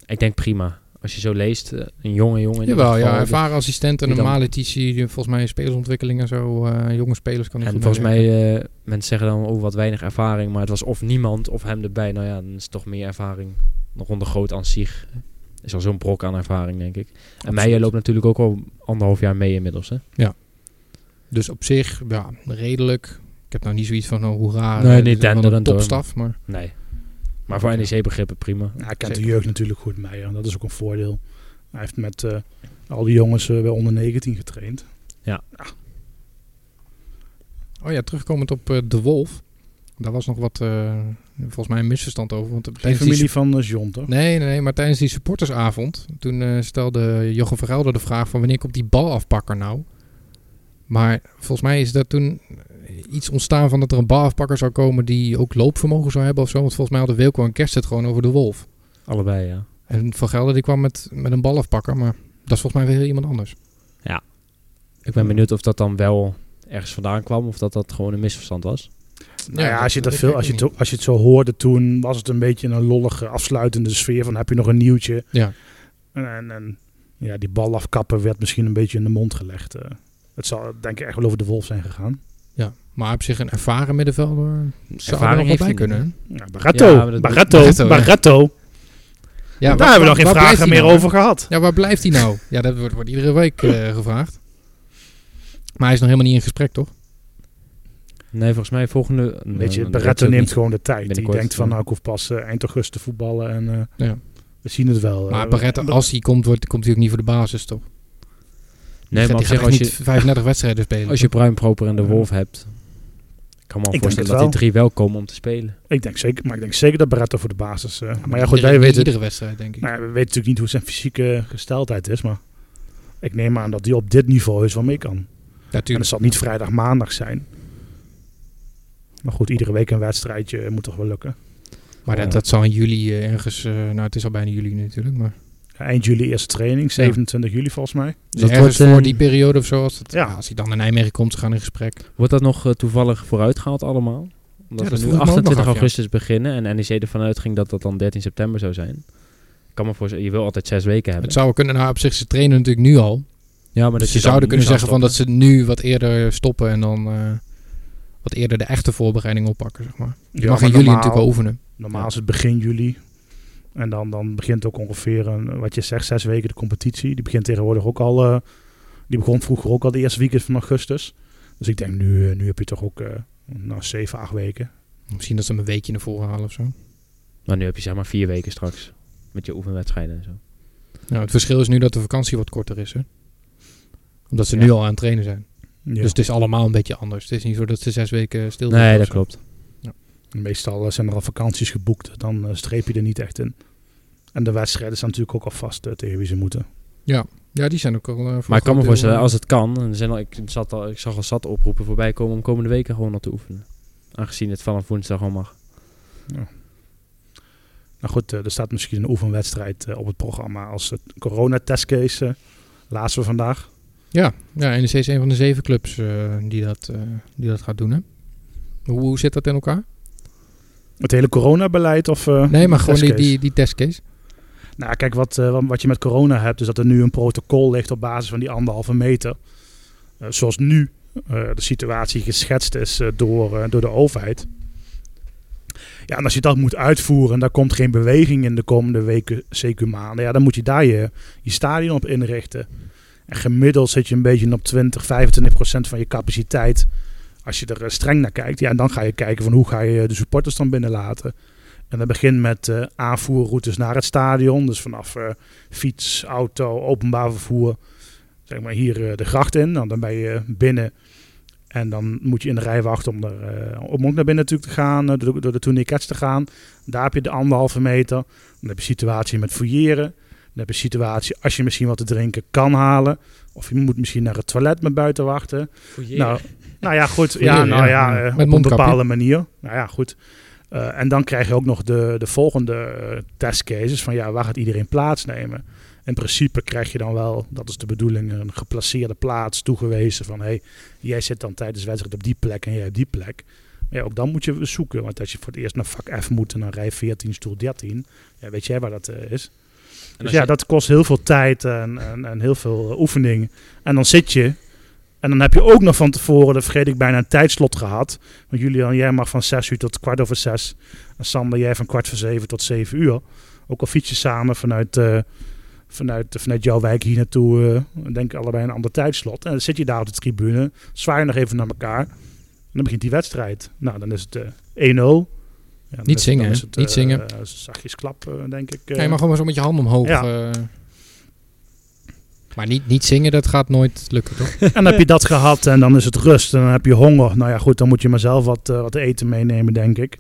ik denk prima. Als je zo leest, eh, een jonge jongen. in Jawel, ieder geval, ja. die- Ervaren assistent en die een dan- maletitie. die Volgens mij spelersontwikkeling en zo. eh, jonge spelers kan hij En goed volgens mij, meewerken. eh, mensen zeggen dan, oh, wat weinig ervaring. Maar het was of niemand of hem erbij. Nou ja, dan is het toch meer ervaring. Nog onder groot aan zich. Is al zo'n brok aan ervaring, denk ik. En Meijer loopt natuurlijk ook al anderhalf jaar mee inmiddels, hè? Dus op zich, ja, redelijk. Ik heb nou niet zoiets van, oh, hoera. Nee, eh, niet dit is wel een denderend, hoor. topstaf, maar... Nee. Maar voor NEC-begrippen prima. Ja, hij kent Zeker. de jeugd natuurlijk goed, Meijer. En dat is ook een voordeel. Hij heeft met eh, al die jongens eh, bij onder 19 getraind. Oh ja, terugkomend op eh, De Wolf. Daar was nog wat, eh, volgens mij, een misverstand over. Want Geen tijdens die familie van eh, John, toch? Nee, nee, nee, maar tijdens die supportersavond, toen eh, stelde Jochem Vergelder de vraag van wanneer komt die balafpakker nou? Maar volgens mij is dat toen eh, iets ontstaan van dat er een balafpakker zou komen die ook loopvermogen zou hebben of zo. Want volgens mij hadden Wilco en Kerst het gewoon over de wolf. Allebei, ja. En Vergelder die kwam met, met een balafpakker, maar dat is volgens mij weer iemand anders. Ik ben benieuwd of dat dan wel ergens vandaan kwam. Of dat dat gewoon een misverstand was. Nou ja, dat- als je, dat dat veel, weet als, je ik het, als je het zo hoorde toen, was het een beetje een lollige afsluitende sfeer van heb je nog een nieuwtje. Ja. En, en, en ja, die bal afkappen werd misschien een beetje in de mond gelegd. eh. het zal denk ik echt wel over de wolf zijn gegaan. Ja, maar op zich een ervaren middenvelder zou er nog Ervaring wel heeft bij hij kunnen. niet, hè? Ja, Barretto, Ja, maar dat- Barretto, Barretto, ja. Barretto. Ja, waar- Daar hebben we nog waar- geen waar blijft vragen hij meer nou, hè? over gehad. Ja, waar blijft hij nou? Ja, dat wordt, wordt iedere week eh, gevraagd. Maar hij is nog helemaal niet in gesprek, toch? Nee, volgens mij volgende... Nou, Weet je, dat Barretto ook neemt niet. gewoon de tijd. Die Binnenkort, denkt van ja. nou, ik hoef pas eh, eind augustus te voetballen en eh, Ja. we zien het wel. Maar Eh, Barretta, als hij komt, wordt, komt hij ook niet voor de basis, toch? Nee, maar die op gaat zich, echt als niet je, 35 wedstrijden spelen. als je Bruin Proper en de Wolf hebt... kan me wel Ik denk voorstellen het dat die drie wel komen om te spelen. Ik denk zeker, maar ik denk zeker dat Barretto voor de basis. eh, maar ja, goed, Iedere- wij bij weten, Iedere wedstrijd, denk ik. nou, ja, we weten natuurlijk niet hoe zijn fysieke gesteldheid is. Maar ik neem aan dat hij op dit niveau is wel mee kan. En Natuurlijk. het zal niet vrijdag, maandag zijn. Maar goed, iedere week een wedstrijdje eh, moet toch wel lukken. Maar dat, dat zal in juli eh, ergens... eh, nou, het is al bijna juli nu natuurlijk, maar... Ja, eind juli eerste training, 27 juli volgens mij. Dus dat ergens wordt, voor eh, die periode of zo. Als, het, ja. ja, als hij dan naar Nijmegen komt, ze gaan in gesprek. Wordt dat nog eh, toevallig vooruitgehaald allemaal? Omdat Ja, dat we vroeg nu ik me ook nog 28 af, ja. augustus beginnen en NEC ervan uitging dat dat dan 13 september zou zijn. Ik kan me voorstellen, je wil altijd zes weken hebben. Het zou wel kunnen, nou op zich, ze trainen natuurlijk nu al. ja, maar Dus dat je zouden kunnen zeggen van dat ze nu wat eerder stoppen en dan eh, wat eerder de echte voorbereiding oppakken, zeg maar. Je Ja, mag maar in juli normaal- natuurlijk wel oefenen. Normaal is het begin juli. En dan, dan begint ook ongeveer, een, wat je zegt, zes weken de competitie. Die begint tegenwoordig ook al. eh, die begon vroeger ook al de eerste weekend van augustus. Dus ik denk, nu, eh, nu heb je toch ook eh nou, zeven, acht weken. Misschien dat ze hem een weekje naar voren halen of zo. Maar nu heb je zeg maar vier weken straks met je oefenwedstrijden en zo. Nou, het verschil is nu dat de vakantie wat korter is, hè. Omdat ze nu al aan het trainen zijn. Ja. Dus het is allemaal een beetje anders. Het is niet zo dat ze zes weken stil Nee, liggen dat of zo. klopt. Meestal eh, zijn er al vakanties geboekt. Dan eh, streep je er niet echt in. En de wedstrijden staan natuurlijk ook al vast eh, tegen wie ze moeten. Ja, die zijn ook al... eh, voor Maar een ik kan me groot deel, voorstellen, eh, als het kan, en er zijn al, ik, zat al, ik zag al zat oproepen voorbij komen om komende weken gewoon al te oefenen. Aangezien het vanaf woensdag al mag. Nou goed, eh, er staat misschien een oefenwedstrijd eh, op het programma als het coronatestcase. eh laatste we vandaag. Ja, ja NEC is een van de zeven clubs eh, die, dat, eh, die dat gaat doen, hè. Hoe, hoe zit dat in elkaar? Het hele coronabeleid of... eh, Nee, maar gewoon die, testcase? die, die testcase. Nou, kijk, wat, eh, wat- wat je met corona hebt, is dat er nu een protocol ligt op basis van die anderhalve meter. Eh, zoals nu eh, de situatie geschetst is eh, door, eh, door de overheid. Ja, en als je dat moet uitvoeren en daar komt geen beweging in de komende weken, zeker maanden, ja, dan moet je daar je, je stadion op inrichten. En gemiddeld zit je een beetje op 20, 25 procent van je capaciteit. Als je er eh, streng naar kijkt, ja, en dan ga je kijken van hoe ga je eh, de supporters dan binnenlaten. En dat begint met eh, aanvoerroutes naar het stadion. Dus vanaf eh, fiets, auto, openbaar vervoer. Zeg maar hier eh, de gracht in. Nou, dan ben je binnen. En dan moet je in de rij wachten om, er, eh, om ook naar binnen natuurlijk te gaan. eh, door, de- door de tourniquets te gaan. Daar heb je de anderhalve meter. Dan heb je situatie met fouilleren. Dan heb je situatie als je misschien wat te drinken kan halen. Of je moet misschien naar het toilet met buiten wachten. Nou, nou ja, goed. Ja, Fouilleren, nou ja. ja, eh, Met op een mondkapje. bepaalde manier. Nou ja, goed. Eh, en dan krijg je ook nog de, de volgende eh, testcases van ja, waar gaat iedereen plaatsnemen? In principe krijg je dan wel, dat is de bedoeling, een geplaceerde plaats toegewezen van hé, hey, jij zit dan tijdens de wedstrijd op die plek en jij op die plek. Maar ja, ook dan moet je zoeken, want als je voor het eerst naar vak F moet en dan rij 14, stoel 13, ja, weet jij waar dat eh, is? Dus ja, dat kost heel veel tijd en, en, en heel veel eh, oefening. En dan zit je. En dan heb je ook nog van tevoren, dat vergeet ik bijna, een tijdslot gehad. Want Julian, jij mag van 6 uur tot kwart over 6. En Sander, jij van kwart voor 7 tot 7 uur. Ook al fiets je samen vanuit, eh, vanuit, eh, vanuit jouw wijk hier naartoe. eh, denk ik allebei een ander tijdslot. En dan zit je daar op de tribune, zwaai je nog even naar elkaar. En dan begint die wedstrijd. Nou, dan is het eh, 1-0. Ja, dan Niet is- zingen, dan is hè? het, Niet eh, zingen. eh, zachtjes klap, eh, denk ik. Ja, eh. je mag gewoon zo met je hand omhoog. Ja. eh. maar niet, niet zingen, dat gaat nooit lukken, toch? En dan heb je dat gehad en dan is het rust en dan heb je honger. Nou ja, goed, dan moet je maar zelf wat, eh, wat eten meenemen, denk ik.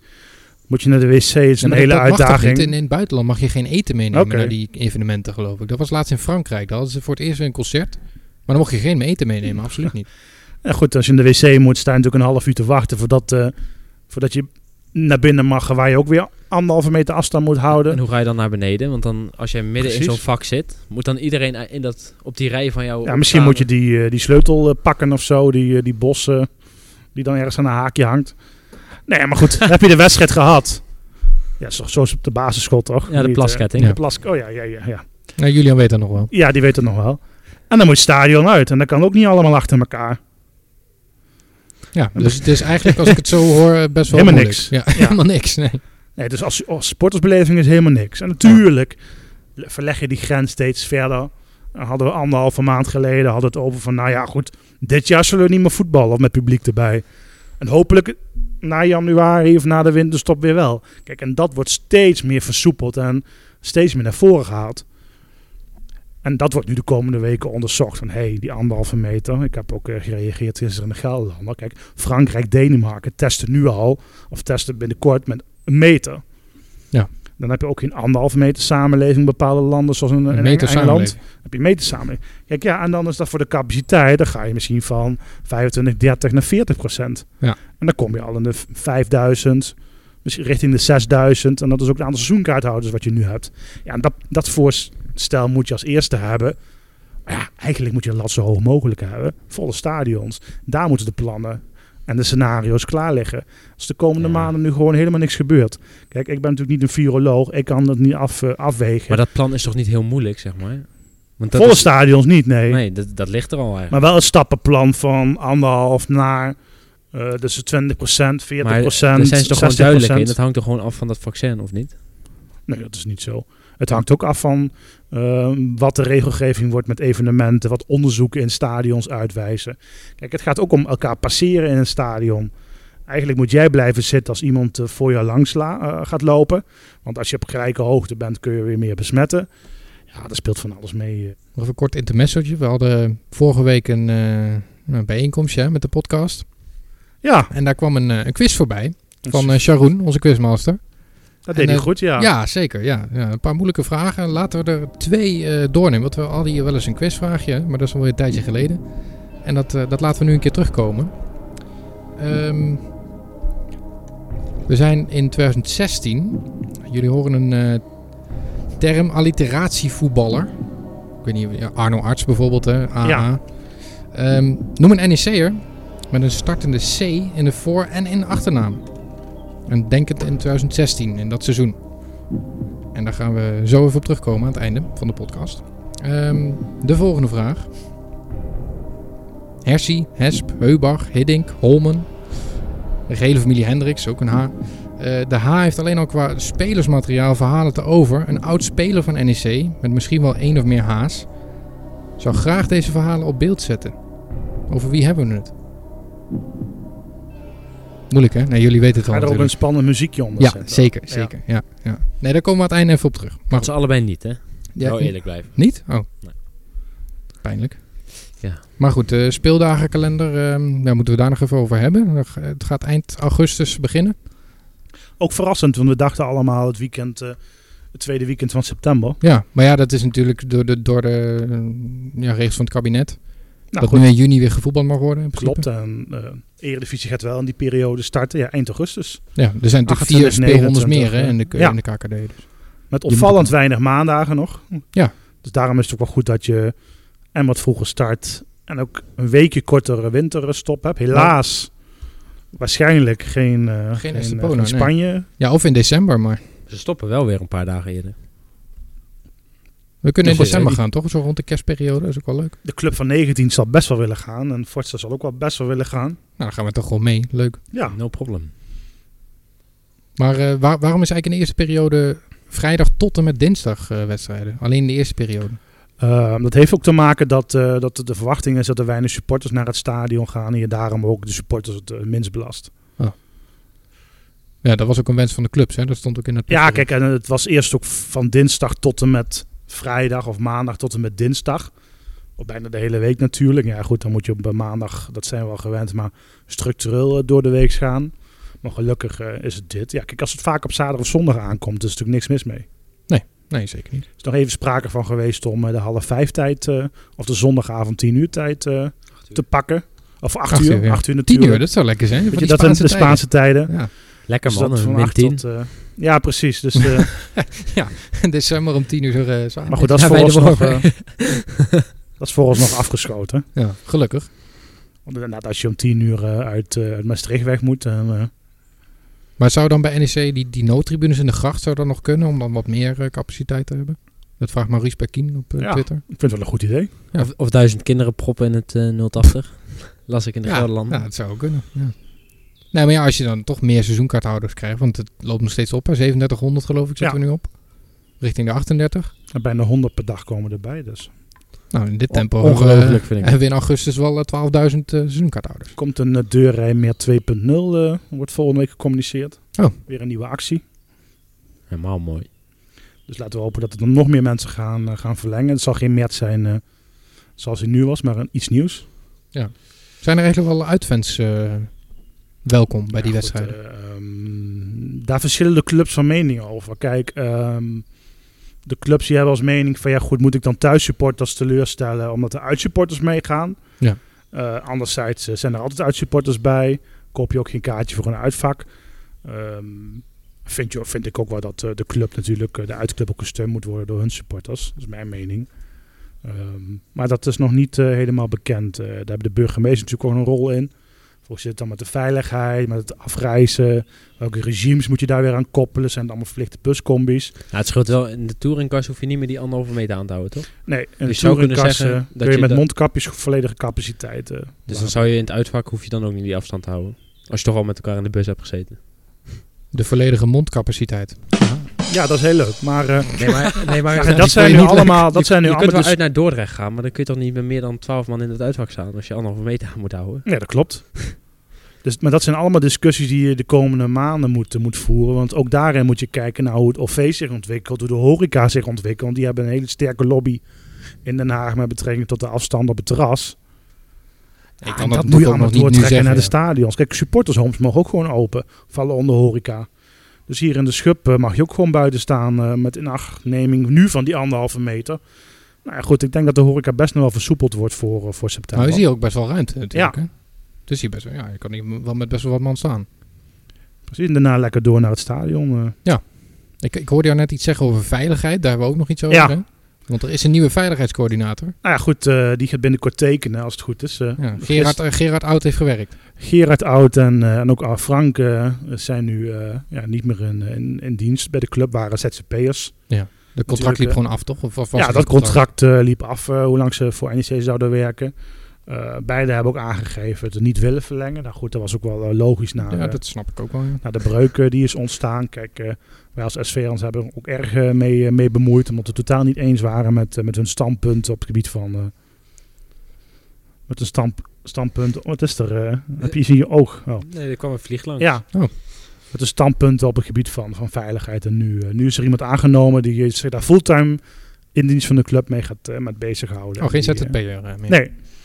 Moet je naar de wc, is Ja, een maar hele dat- dat mag toch uitdaging. niet? In, in het buitenland mag je geen eten meenemen Oké. naar die evenementen, geloof ik. Dat was laatst in Frankrijk. Daar hadden ze voor het eerst weer een concert. Maar dan mocht je geen eten meenemen, absoluut niet. En goed, als je in de wc moet, sta je natuurlijk een half uur te wachten voordat, eh, voordat je naar binnen mag. Waar je ook weer anderhalve meter afstand moet houden. En hoe ga je dan naar beneden? Want dan, als jij midden in Precies. zo'n vak zit, moet dan iedereen in dat, op die rij van jou... Ja, misschien samen- moet je die, eh, die sleutel eh, pakken of zo, die, eh, die bos eh, die dan ergens aan een haakje hangt. Nee, maar goed, heb je de wedstrijd gehad? Ja, zo, zo is het op de basisschool toch? Ja, de Niet, eh, plasketting. Ja. de plas, oh ja, ja, ja, ja. Nou, Julian weet dat nog wel. Ja, die weet het nog wel. En dan moet het stadion uit. En dat kan ook niet allemaal achter elkaar. Ja, dus het is eigenlijk, als ik het zo hoor, eh, best wel Helemaal niks. moeilijk. Ja, helemaal niks. Nee. Nee, dus als, als sportersbeleving is helemaal niks. En natuurlijk le- verleg je die grens steeds verder. Dan hadden we anderhalve maand geleden hadden we het over van... Nou ja, goed, dit jaar zullen we niet meer voetballen of met publiek erbij. En hopelijk na januari of na de winterstop weer wel. Kijk, en dat wordt steeds meer versoepeld en steeds meer naar voren gehaald. En dat wordt nu de komende weken onderzocht. Van hey, die anderhalve meter. Ik heb ook eh, gereageerd gisteren in de Gelderlander. Kijk, Frankrijk, Denemarken testen nu al. Of testen binnenkort met een meter. Ja. Dan heb je ook geen anderhalve meter samenleving in bepaalde landen. Zoals in, in Een meter Engeland samenleving. heb je meter samen. Kijk, ja, en dan is dat voor de capaciteit, dan ga je misschien van 25, 30 naar 40 procent. Ja. En dan kom je al in de v- 5000, misschien richting de 6000. En dat is ook het aantal seizoenkaarthouders wat je nu hebt. Ja, en dat, dat voorstel moet je als eerste hebben. Maar ja, eigenlijk moet je een lat zo hoog mogelijk hebben. Volle stadions. Daar moeten de plannen en de scenario's klaar liggen. Als de komende Ja. maanden nu gewoon helemaal niks gebeurt. Kijk, ik ben natuurlijk niet een viroloog. Ik kan dat niet af, eh, afwegen. Maar dat plan is toch niet heel moeilijk, zeg maar? Want dat Volle is- stadions niet, nee. Nee, dat, dat ligt er al eigenlijk. Maar wel het stappenplan van anderhalf naar. eh dus 20 40 Maar daar zijn ze toch gewoon duidelijk in. Dat hangt er gewoon af van dat vaccin, of niet? Nee, dat is niet zo. Het hangt ook af van eh, wat de regelgeving wordt met evenementen, wat onderzoeken in stadions uitwijzen. Kijk, het gaat ook om elkaar passeren in een stadion. Eigenlijk moet jij blijven zitten als iemand eh, voor jou langs la- eh, gaat lopen. Want als je op gelijke hoogte bent, kun je weer meer besmetten. Ja, daar speelt van alles mee. eh. Nog even een kort intermessootje. We hadden vorige week een, eh, een bijeenkomst ja, met de podcast. Ja, dus En daar kwam een, eh, een quiz voorbij van eh, Sharoon, onze quizmaster. dat deed en, hij eh, goed, ja. Ja, zeker. Ja. Ja, een paar moeilijke vragen. Laten we er twee eh, doornemen. Want we hadden hier wel eens een quizvraagje, maar dat is alweer een tijdje geleden. En dat, eh, dat laten we nu een keer terugkomen. Ehm, we zijn in 2016. Jullie horen een eh, term alliteratievoetballer. Ik weet niet, ja, Arno Arts bijvoorbeeld, hè? AA. Ja. Ehm, noem een NEC'er met een startende C in de voor- en in de achternaam. En denk het in 2016, in dat seizoen. En daar gaan we zo even op terugkomen aan het einde van de podcast. Ehm, de volgende vraag. Hersie, Hesp, Heubach, Hiddink, Holmen. De gehele familie Hendricks, ook een H. Eh, de H heeft alleen al qua spelersmateriaal verhalen te over. Een oud speler van NEC, met misschien wel één of meer H's, zou graag deze verhalen op beeld zetten. Over wie hebben we het? Moeilijk hè? Nee, jullie weten het al Ga er ook natuurlijk. een spannend muziekje onder Ja, zetten. zeker, Ja. zeker. Ja. Ja, Nee, daar komen we aan het einde even op terug. Maar Dat ze allebei niet, hè? goed. Ja, oh, eerlijk blijven. Niet? Oh. Nee. Pijnlijk. Ja. Maar goed, de speeldagenkalender, ehm, daar moeten we daar nog even over hebben. Dat- Het gaat eind augustus beginnen. Ook verrassend, want we dachten allemaal het weekend, eh, het tweede weekend van september. Nou Ja, maar ja, dat is natuurlijk door de, door de eh, ja, regels van het kabinet. Nou, dat nu in juni weer gevoetbald mag worden. in principe. klopt. En eh Eredivisie gaat wel in die periode starten, ja, eind augustus. Ja, er zijn natuurlijk 28, vier speelrondes meer hè, in, de, ja. in de KKD. Dus. Met Je moet opvallend weinig maandagen nog. Ja. Dus daarom is het ook wel goed dat je en wat vroeger start en ook een weekje kortere winterstop hebt. Helaas waarschijnlijk geen, eh, geen, eh, Estepona, geen nee. Spanje. Ja, of in december, maar Ze stoppen wel weer een paar dagen eerder. we kunnen in Dus, eh, december die- gaan toch? Zo rond de kerstperiode, dat is ook wel leuk. De club van 19 zal best wel willen gaan en Forza zal ook wel best wel willen gaan. Nou, dan gaan we toch wel mee. Leuk. Ja, No problem. Maar eh, waar- waarom is eigenlijk in de eerste periode vrijdag tot en met dinsdag eh, wedstrijden? Alleen in de eerste periode. Ehm, dat heeft ook te maken dat, eh, dat de verwachting is dat er weinig supporters naar het stadion gaan. En je daarom ook de supporters het eh, minst belast. Ja, dat was ook een wens van de clubs, hè? Dat stond ook in het Ja, kijk, en het was eerst ook van dinsdag tot en met vrijdag of maandag tot en met dinsdag. Of bijna de hele week natuurlijk. Ja, goed, dan moet je op eh, maandag, dat zijn we al gewend, maar structureel eh, door de week gaan. Maar gelukkig eh, is het dit. Ja, kijk, als het vaak op zaterdag of zondag aankomt, is er natuurlijk niks mis mee. Nee, zeker niet. Er is nog even sprake van geweest om eh, de half vijf tijd eh, of de zondagavond tien uur tijd eh, te pakken. Of acht, Acht uur, uur, ja. acht uur Tien natuurlijk. uur, dat zou lekker zijn. Weet van je, die dat zijn de tijden. Spaanse tijden. Ja, Lekker Dus man, dat een van min acht 10. tot... eh, ja, precies. Dus, eh, in december om tien uur eh, s'avonds. maar goed, dat is Ja, bij de vooralsnog... worpen. eh, dat is vooralsnog afgeschoten. Ja, gelukkig. Want inderdaad, als je om tien uur eh, uit, eh, uit Maastricht weg moet, dan, eh, Maar zou dan bij NEC die, die noodtribunes in de gracht zou dan nog kunnen om dan wat meer eh, capaciteit te hebben? Dat vraagt Maurice Perkin op eh, Ja. Twitter. ik vind het wel een goed idee. Ja. Of, of duizend kinderen proppen in het eh, 080. Las ik in de ja, Gelderland. ja, dat zou ook kunnen. Ja. Nou, maar ja, als je dan toch meer seizoenkaarthouders krijgt, want het loopt nog steeds op. Hè? 3700 geloof ik zitten Ja. we nu op. Richting de 38. En bijna 100 per dag komen erbij, dus. Nou, in dit O- tempo ongelooflijk, eh, vind ik. hebben we in augustus wel eh, 12.000 eh, seizoenkaarthouders. Komt een eh, deurrij meer 2.0, eh, wordt volgende week gecommuniceerd. Oh. Weer een nieuwe actie. Helemaal mooi. Dus laten we hopen dat er dan nog meer mensen gaan, eh, gaan verlengen. Het zal geen match zijn eh, zoals hij nu was, maar een, iets nieuws. Zijn er eigenlijk wel uitfans eh, welkom bij Ja, die goed, wedstrijden? eh, ehm, daar verschillen de clubs van mening over. Kijk, ehm, de clubs die hebben als mening van ja goed, moet ik dan thuis supporters teleurstellen omdat de uitsupporters meegaan. Ja. Eh, anderzijds eh, zijn er altijd uitsupporters bij. Koop je ook geen kaartje voor een uitvak. Ehm, vind, je, vind ik ook wel dat eh, de club natuurlijk, eh, de uitclub ook gesteund moet worden door hun supporters. Dat is mijn mening. Ehm, maar dat is nog niet eh, helemaal bekend. Eh, daar hebben de burgemeester natuurlijk ook een rol in. Hoe zit het dan met de veiligheid, met het afreizen? Welke regimes moet je daar weer aan koppelen? Zijn het allemaal verplichte buscombi's? Nou, het scheelt wel, in de touringcars hoef je niet meer die anderhalve meter aan te houden, toch? Nee, in Je de zou kunnen touringkassen zeggen dat kun je je met dat- mondkapjes volledige capaciteit. eh, Dus laten. dan zou je in het uitvak, hoef je dan ook niet die afstand te houden. Als je toch al met elkaar in de bus hebt gezeten. De volledige mondcapaciteit. Ja, dat is heel leuk. Maar, eh, Nee, maar, nee, maar maar die dat kon zijn je nu niet allemaal... Dat je, zijn nu je kunt allemaal wel dus- uit naar Dordrecht gaan, maar dan kun je toch niet met meer dan twaalf man in het uitvak staan als je anderhalve meter aan moet houden. Ja, dat klopt. Dus, maar dat zijn allemaal discussies die je de komende maanden moet, eh, moet voeren. Want ook daarin moet je kijken naar hoe het OV zich ontwikkelt, hoe de horeca zich ontwikkelt. Want die hebben een hele sterke lobby in Den Haag met betrekking tot de afstand op het terras. Ik kan en dat Ah, dat moet je natuurlijk ook nog allemaal niet nu doortrekken zeggen, naar de ja. stadions. Kijk, supportershomes mogen ook gewoon open, vallen onder horeca. Dus hier in de Schub eh, mag je ook gewoon buiten staan eh, met inachtneming nu van die anderhalve meter. Nou ja, goed, ik denk dat de horeca best nog wel versoepeld wordt voor, eh, voor september. Nou is hier ook best wel ruimte natuurlijk. hè? Dus hier best wel, ja, je kan hier wel met best wel wat man staan. Precies, en daarna lekker door naar het stadion. eh. Ik, ik hoorde jou net iets zeggen over veiligheid. Daar hebben we ook nog iets over. Ja. hè? Want er is een nieuwe veiligheidscoördinator. Nou ja, goed, eh, die gaat binnenkort tekenen als het goed is. eh. Ja, Gerard, eh, Gerard Oud heeft gewerkt. Gerard Oud en, eh, en ook Ar Frank eh, zijn nu eh, ja, niet meer in, in, in dienst. Bij de club waren ZZP'ers. De contract liep hè. gewoon af, toch? Of, of was Ja, dat het een contract? contract eh, liep af eh, hoe lang ze voor NEC zouden werken. Eh beide hebben ook aangegeven het niet willen verlengen. Nou goed, dat was ook wel eh, logisch na, Ja, eh, dat snap ik ook wel. ja. na de breuk eh, die is ontstaan. Kijk, eh, wij als SV-ons hebben er ook erg eh, mee, eh, mee bemoeid. Omdat we totaal niet eens waren met, eh, met hun standpunt op het gebied van... eh, met een stamp, standpunt... Wat is er? eh? heb je iets in je oog? Oh. Nee, er kwam een vlieg langs. Ja. Oh. Met een standpunt op het gebied van, van veiligheid. En nu, eh, nu is er iemand aangenomen die zich daar fulltime in dienst van de club mee gaat eh, met bezighouden. Oh, geen En die, eh, ZZP'er eh, meer. Nee,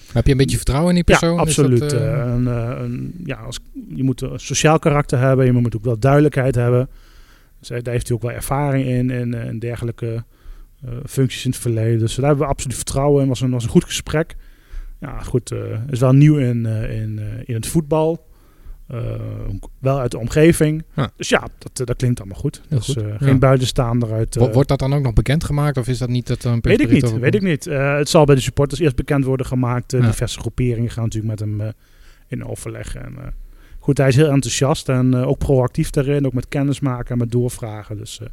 Maar Heb je een beetje vertrouwen in die ja, persoon? Is dat, absoluut. eh, eh, een, eh, een- ja, als, je moet een sociaal karakter hebben, je moet ook wel duidelijkheid hebben. Dus, eh, daar heeft hij ook wel ervaring in en, eh, en dergelijke eh, functies in het verleden. Dus daar hebben we absoluut vertrouwen in. Was een, was een goed gesprek. Ja, goed. eh is wel nieuw in, eh, in, eh, in het voetbal. Eh, ook wel uit de omgeving. Ja. Dus ja, dat, eh, dat klinkt allemaal goed. Heel Dus goed, eh, ja. geen buitenstaander uit. eh, wo- wordt dat dan ook nog bekendgemaakt? Of is dat niet dat er een Weet ik persbericht niet, over weet ik komt? niet. Eh, het zal bij de supporters eerst bekend worden gemaakt. Eh, Ja. Diverse groeperingen gaan natuurlijk met hem eh, in overleg. En, eh, goed, hij is heel enthousiast en eh, ook proactief daarin. Ook met kennismaken en met doorvragen. Dus eh,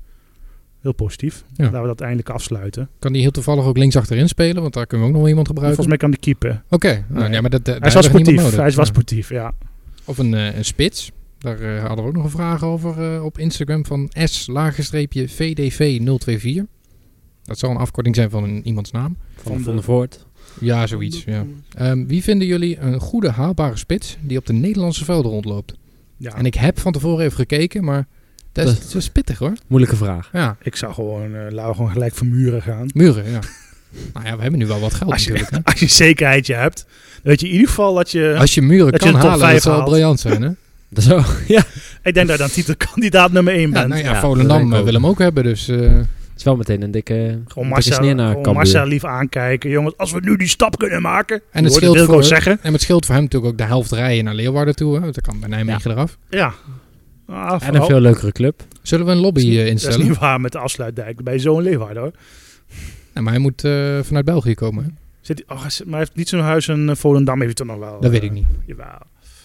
heel positief. Ja. Laten we dat eindelijk afsluiten. Kan die heel toevallig ook links achterin spelen? Want daar kunnen we ook nog wel iemand gebruiken. Volgens mij kan die keeper. Oké, nou, Nee. ja, maar dat, eh, daar Hij is hebben wel we niemand sportief. nodig. Hij is wel Ja. sportief, ja. Of een, eh, een spits. Daar eh, hadden we ook nog een vraag over eh, op Instagram van s-vdv024. Dat zal een afkorting zijn van een, iemands naam. Van, van de Voort. Ja, zoiets. Ja. Ehm, wie vinden jullie een goede haalbare spits die op de Nederlandse velden rondloopt? ja. En ik heb van tevoren even gekeken, maar dat is, Dat- dat is pittig hoor. Moeilijke vraag. Ja, Ik zou gewoon, eh, laten we gewoon gelijk voor muren gaan. muren, ja. nou ja, we hebben nu wel wat geld Als je- natuurlijk. Hè? Als je een zekerheidje hebt, dan weet je in ieder geval dat je... Als je muren dat je kan de top halen, dat vijf zou wel haalt. briljant zijn hè. Dat is wel- ja. Ik denk dat je dan titelkandidaat nummer 1 Ja, bent. nou ja, Ja, dat Volendam denk ik eh, wil hem ook hebben, dus... eh, Het is wel meteen een dikke, Gewoon een dikke Marcel, sneer naar gewoon Cambuur. Marcel lief aankijken. Jongens, als we nu die stap kunnen maken. het Je hoort scheelt Wilco voor- zeggen. En het scheelt voor hem natuurlijk ook de helft rijden naar Leeuwarden toe. Hè? Want dat kan bij Nijmegen eraf. Ja. Ah, En een vooral- veel leukere club. Zullen we een lobby eh, dat is instellen? niet waar met de afsluitdijk bij zo'n Leeuwarden hoor. Nee, maar hij moet eh, vanuit België komen. hè? Zit, hij- oh, hij zit- maar hij heeft niet zo'n huis in eh, Volendam, heeft hij toch nog wel? Dat weet eh, ik niet. Jawel.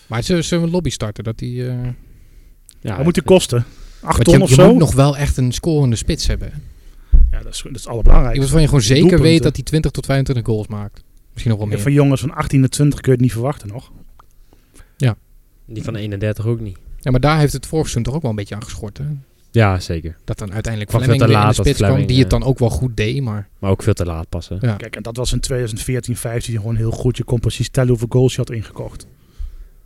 Maar zullen, zullen we een lobby starten? Dat die, eh, want Ja, Wat moet die kosten? Acht je, ton of je zo? moet nog wel echt een scorende spits hebben. hè? Ja, dat is, dat is allerbelangrijk. Iemand van je gewoon zeker Doelpunten. weet dat hij 20 tot 25 goals maakt. Misschien nog wel meer. Van jongens van 18 en 20 kun je het niet verwachten nog. Die van 31 ook niet. Ja, maar daar heeft het vorig seizoen toch ook wel een beetje aan geschort. Hè? Ja, zeker. Dat dan uiteindelijk Kwam veel Flemming te weer in de eh? laat dat spits kwam. Flemming, Die het ja. dan ook wel goed deed. Maar Maar ook veel te laat passen. ja. Kijk, en dat was in 2014, 15 gewoon heel goed. Je kon precies tellen hoeveel goals je had ingekocht.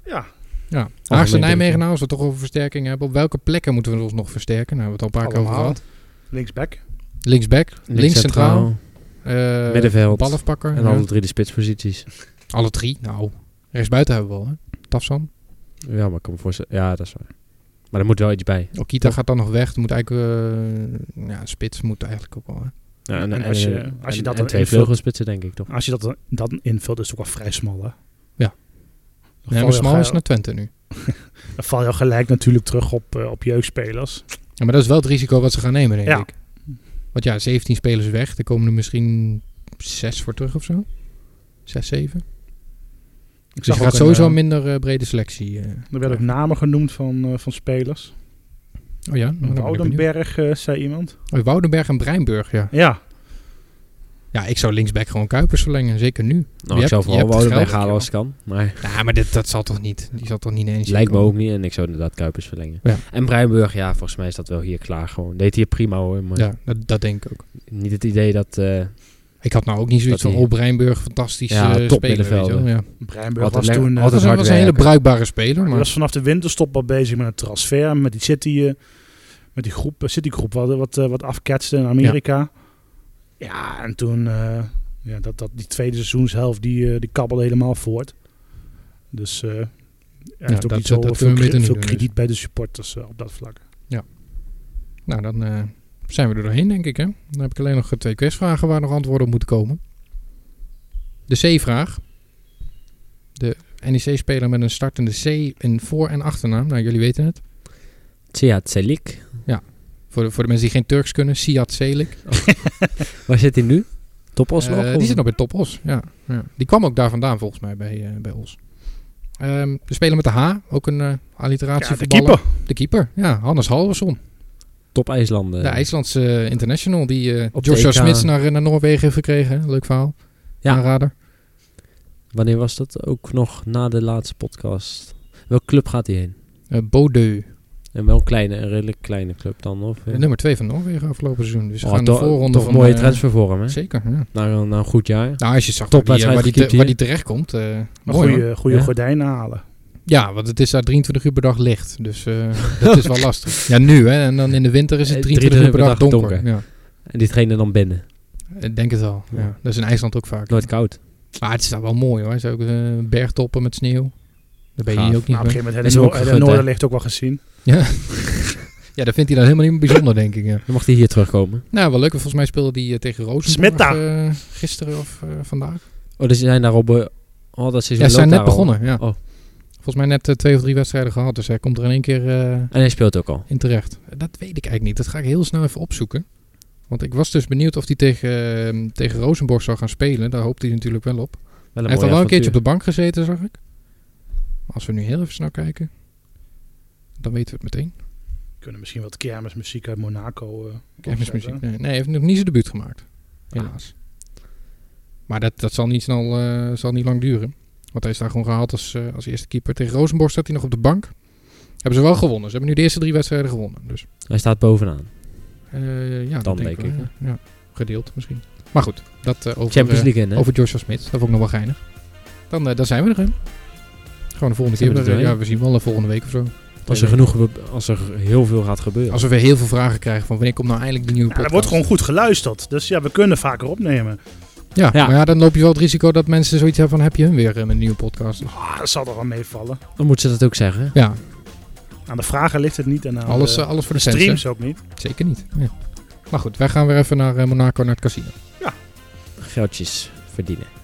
Ja, ja. Haagse Nijmegen directeur. nou, als we toch over versterking hebben. Op welke plekken moeten we ons nog versterken? Nou, we hebben het al een paar keer over allemaal. gehad. Linksback. Linksback, links, centraal, eh, middenveld balafpakker. en ja. alle drie de spitsposities. alle drie, nou, rechtsbuiten hebben we al, hè. Tafsan. Ja, maar ik kan me voorstellen. Ja, dat is waar. Maar er moet wel iets bij. Okita gaat dan nog weg. Dan moet eigenlijk, eh, ja, spits moet eigenlijk ook wel, hè. Ja, en als je- eh, als je en- dat en dan twee invult- vleugelspitsen, denk ik toch? Als je dat dan, dat dan invult, is het ook wel vrij smal, hè? Ja. Dan Nee, val, je maar Smal is gelijk, naar Twente nu. dan val je al gelijk natuurlijk terug op, eh, op jeugdspelers. Ja, maar dat is wel het risico wat ze gaan nemen, denk Ja. ik. Want ja, 17 spelers weg. Er komen er misschien 6 voor terug of zo. 6, 7. Ik Dus zag je ook gaat een, sowieso eh, een minder eh, brede selectie. eh. Er werden ook namen genoemd van, eh, van spelers. Oh ja, nou, dan ben ik benieuwd. Woudenberg, eh, zei iemand. Oh, Woudenberg en Breinburg, ja. Ja, Ja, ik zou linksback gewoon Kuipers verlengen, zeker nu. Nou, hebt- ik zou je vooral hebt het Wouden geld, weghalen als het kan. Maar Ja, maar dit, dat zal toch niet. Die zal toch niet in lijkt me ook niet. En ik zou inderdaad Kuipers verlengen. Ja. En Breinburg, ja, volgens mij is dat wel hier klaar gewoon. Deed hier prima hoor. Maar Ja, dat, dat denk ik ook. niet het idee dat... eh, Ik had nou ook niet zoiets Dat van, hij- oh, Breinburg, fantastisch Ja, eh, top speler. Weet je wel. middenvelder. Ja. Breinburg Altijd was lekker- toen... eh, Dat altijd was, een- hard was een hele werken. bruikbare speler, Die maar was vanaf de winterstop al bezig met een transfer. Met die City, eh, met die groep, eh, Citygroep wat, wat, eh, wat afketste in Amerika. Ja, en toen eh, ja, dat, dat, die tweede seizoenshelft, die, eh die kabbelde helemaal voort. Dus eh hij heeft ook dat- niet zo dat kunnen we veel, beter kri- niet veel doen, krediet bij de supporters eh, op dat vlak. nou, dan eh, zijn we er doorheen, denk ik. Hè? Dan heb ik alleen nog eh, twee quizvragen waar nog antwoorden op moeten komen. De C-vraag. De NEC-speler met een startende C in voor- en achternaam. Nou, jullie weten het. Tja Tselik. Voor de, voor de mensen die geen Turks kunnen, Siad Selik. Waar zit hij nu? Topos nog? Eh, of- die zit nog bij Top Os. Ja, ja. Die kwam ook daar vandaan volgens mij bij, eh, bij Os. Ehm, de speler met de H, ook een eh alliteratie Ja, de voetballer. keeper. De keeper, ja. Hannes Halverson. Top IJslanden. De IJslandse eh, international die eh, Op de Joshua EK. Smits naar, eh, naar Noorwegen heeft gekregen. hè. Leuk verhaal. Ja. Aanrader. Wanneer was dat? Ook nog na de laatste podcast. Welke club gaat hij heen? Eh Bodø, En wel een kleine, een redelijk kleine club dan, of? eh? de nummer 2 van Noorwegen afgelopen seizoen. Dus we Oh, gaan de to- voorronde toch van... mooie eh, transfer voor hem, hè? Zeker, ja. Na, een- na een goed jaar. Nou, als je zag waar die, eh, Topwedstrijd waar, die, te- gekiept waar die hier. terechtkomt. eh Maar mooi, hoor. goede, goede Ja. gordijnen halen. Ja, want het is daar 23 uur per dag licht. Dus eh, dat is wel lastig. Ja, nu hè. En dan in de winter is het Eh, 23 uur per dag donker. donker. Ja, En die trainen dan binnen. ik denk het wel. Ja. Ja. Dat is in IJsland ook vaak. Nooit koud. Maar het is daar wel mooi hoor. Er zijn ook eh, bergtoppen met sneeuw. Daar ben je Gaaf. hier ook niet Nou, op een mee. gegeven moment hebben Is hem we ook Noor- hebben gegund, we hè? Noorderlicht ook wel gezien. Ja. ja, dat vindt hij dan helemaal niet meer bijzonder, denk ik. Ja. Dan mag hij hier terugkomen. Nou, wel leuk. Volgens mij speelde die eh, tegen Rozenborg Smeta. eh, gisteren of eh, vandaag. Oh, dus ze zijn daar al... be- Oh, dat seizoen Ja, ze zijn loopt net daar al. begonnen. Ja. Oh. Volgens mij net eh, twee of drie wedstrijden gehad. Dus hij komt er in één keer eh, En hij speelt ook al. in terecht. Dat weet ik eigenlijk niet. Dat ga ik heel snel even opzoeken. Want ik was dus benieuwd of hij tegen, eh, tegen Rozenborg zou gaan spelen. Daar hoopte hij natuurlijk wel op. Wel Hij een heeft al mooi wel een keertje avontuur. op de bank gezeten, zag ik. Maar als we nu heel even snel kijken, dan weten we het meteen. Kunnen misschien wat kermismuziek uit Monaco. eh, Kermismuziek. opzetten. Nee, nee, hij heeft nog niet zijn debuut gemaakt. Helaas. Maar dat, dat zal niet snel eh, zal niet lang duren. Want hij is daar gewoon gehaald als, eh, als eerste keeper. Tegen Rozenborg staat hij nog op de bank. Hebben ze wel gewonnen. Ze hebben nu de eerste drie wedstrijden gewonnen. Dus Hij staat bovenaan. eh, ja, Dan dat denk denk wel, ik, Ja, Ja, gedeeld misschien. Maar goed, dat eh, over, Champions eh, League in, hè? over Joshua Smit. Dat vond ik nog wel geinig. Dan, eh dan zijn we er, hè? Gewoon de volgende Zijn we keer. er doorheen? ja, we zien wel eh, volgende week of zo. Als er genoeg... be- Als er heel veel gaat gebeuren. Als we weer heel veel vragen krijgen van wanneer komt nou eindelijk de nieuwe Ja, er podcast. wordt gewoon goed geluisterd. Dus ja, we kunnen vaker opnemen. Ja, Ja. maar ja, dan loop je wel het risico dat mensen zoiets hebben van heb je hun weer eh, met een nieuwe podcast. Ah, dat zal er wel meevallen. Dan moeten ze dat ook zeggen. Ja, Aan de vragen ligt het niet en aan alles, de eh, alles voor de cent, hè? Nou, streams ook niet. Zeker niet. Ja. Maar goed, wij gaan weer even naar eh, Monaco, naar het casino. Geldjes verdienen.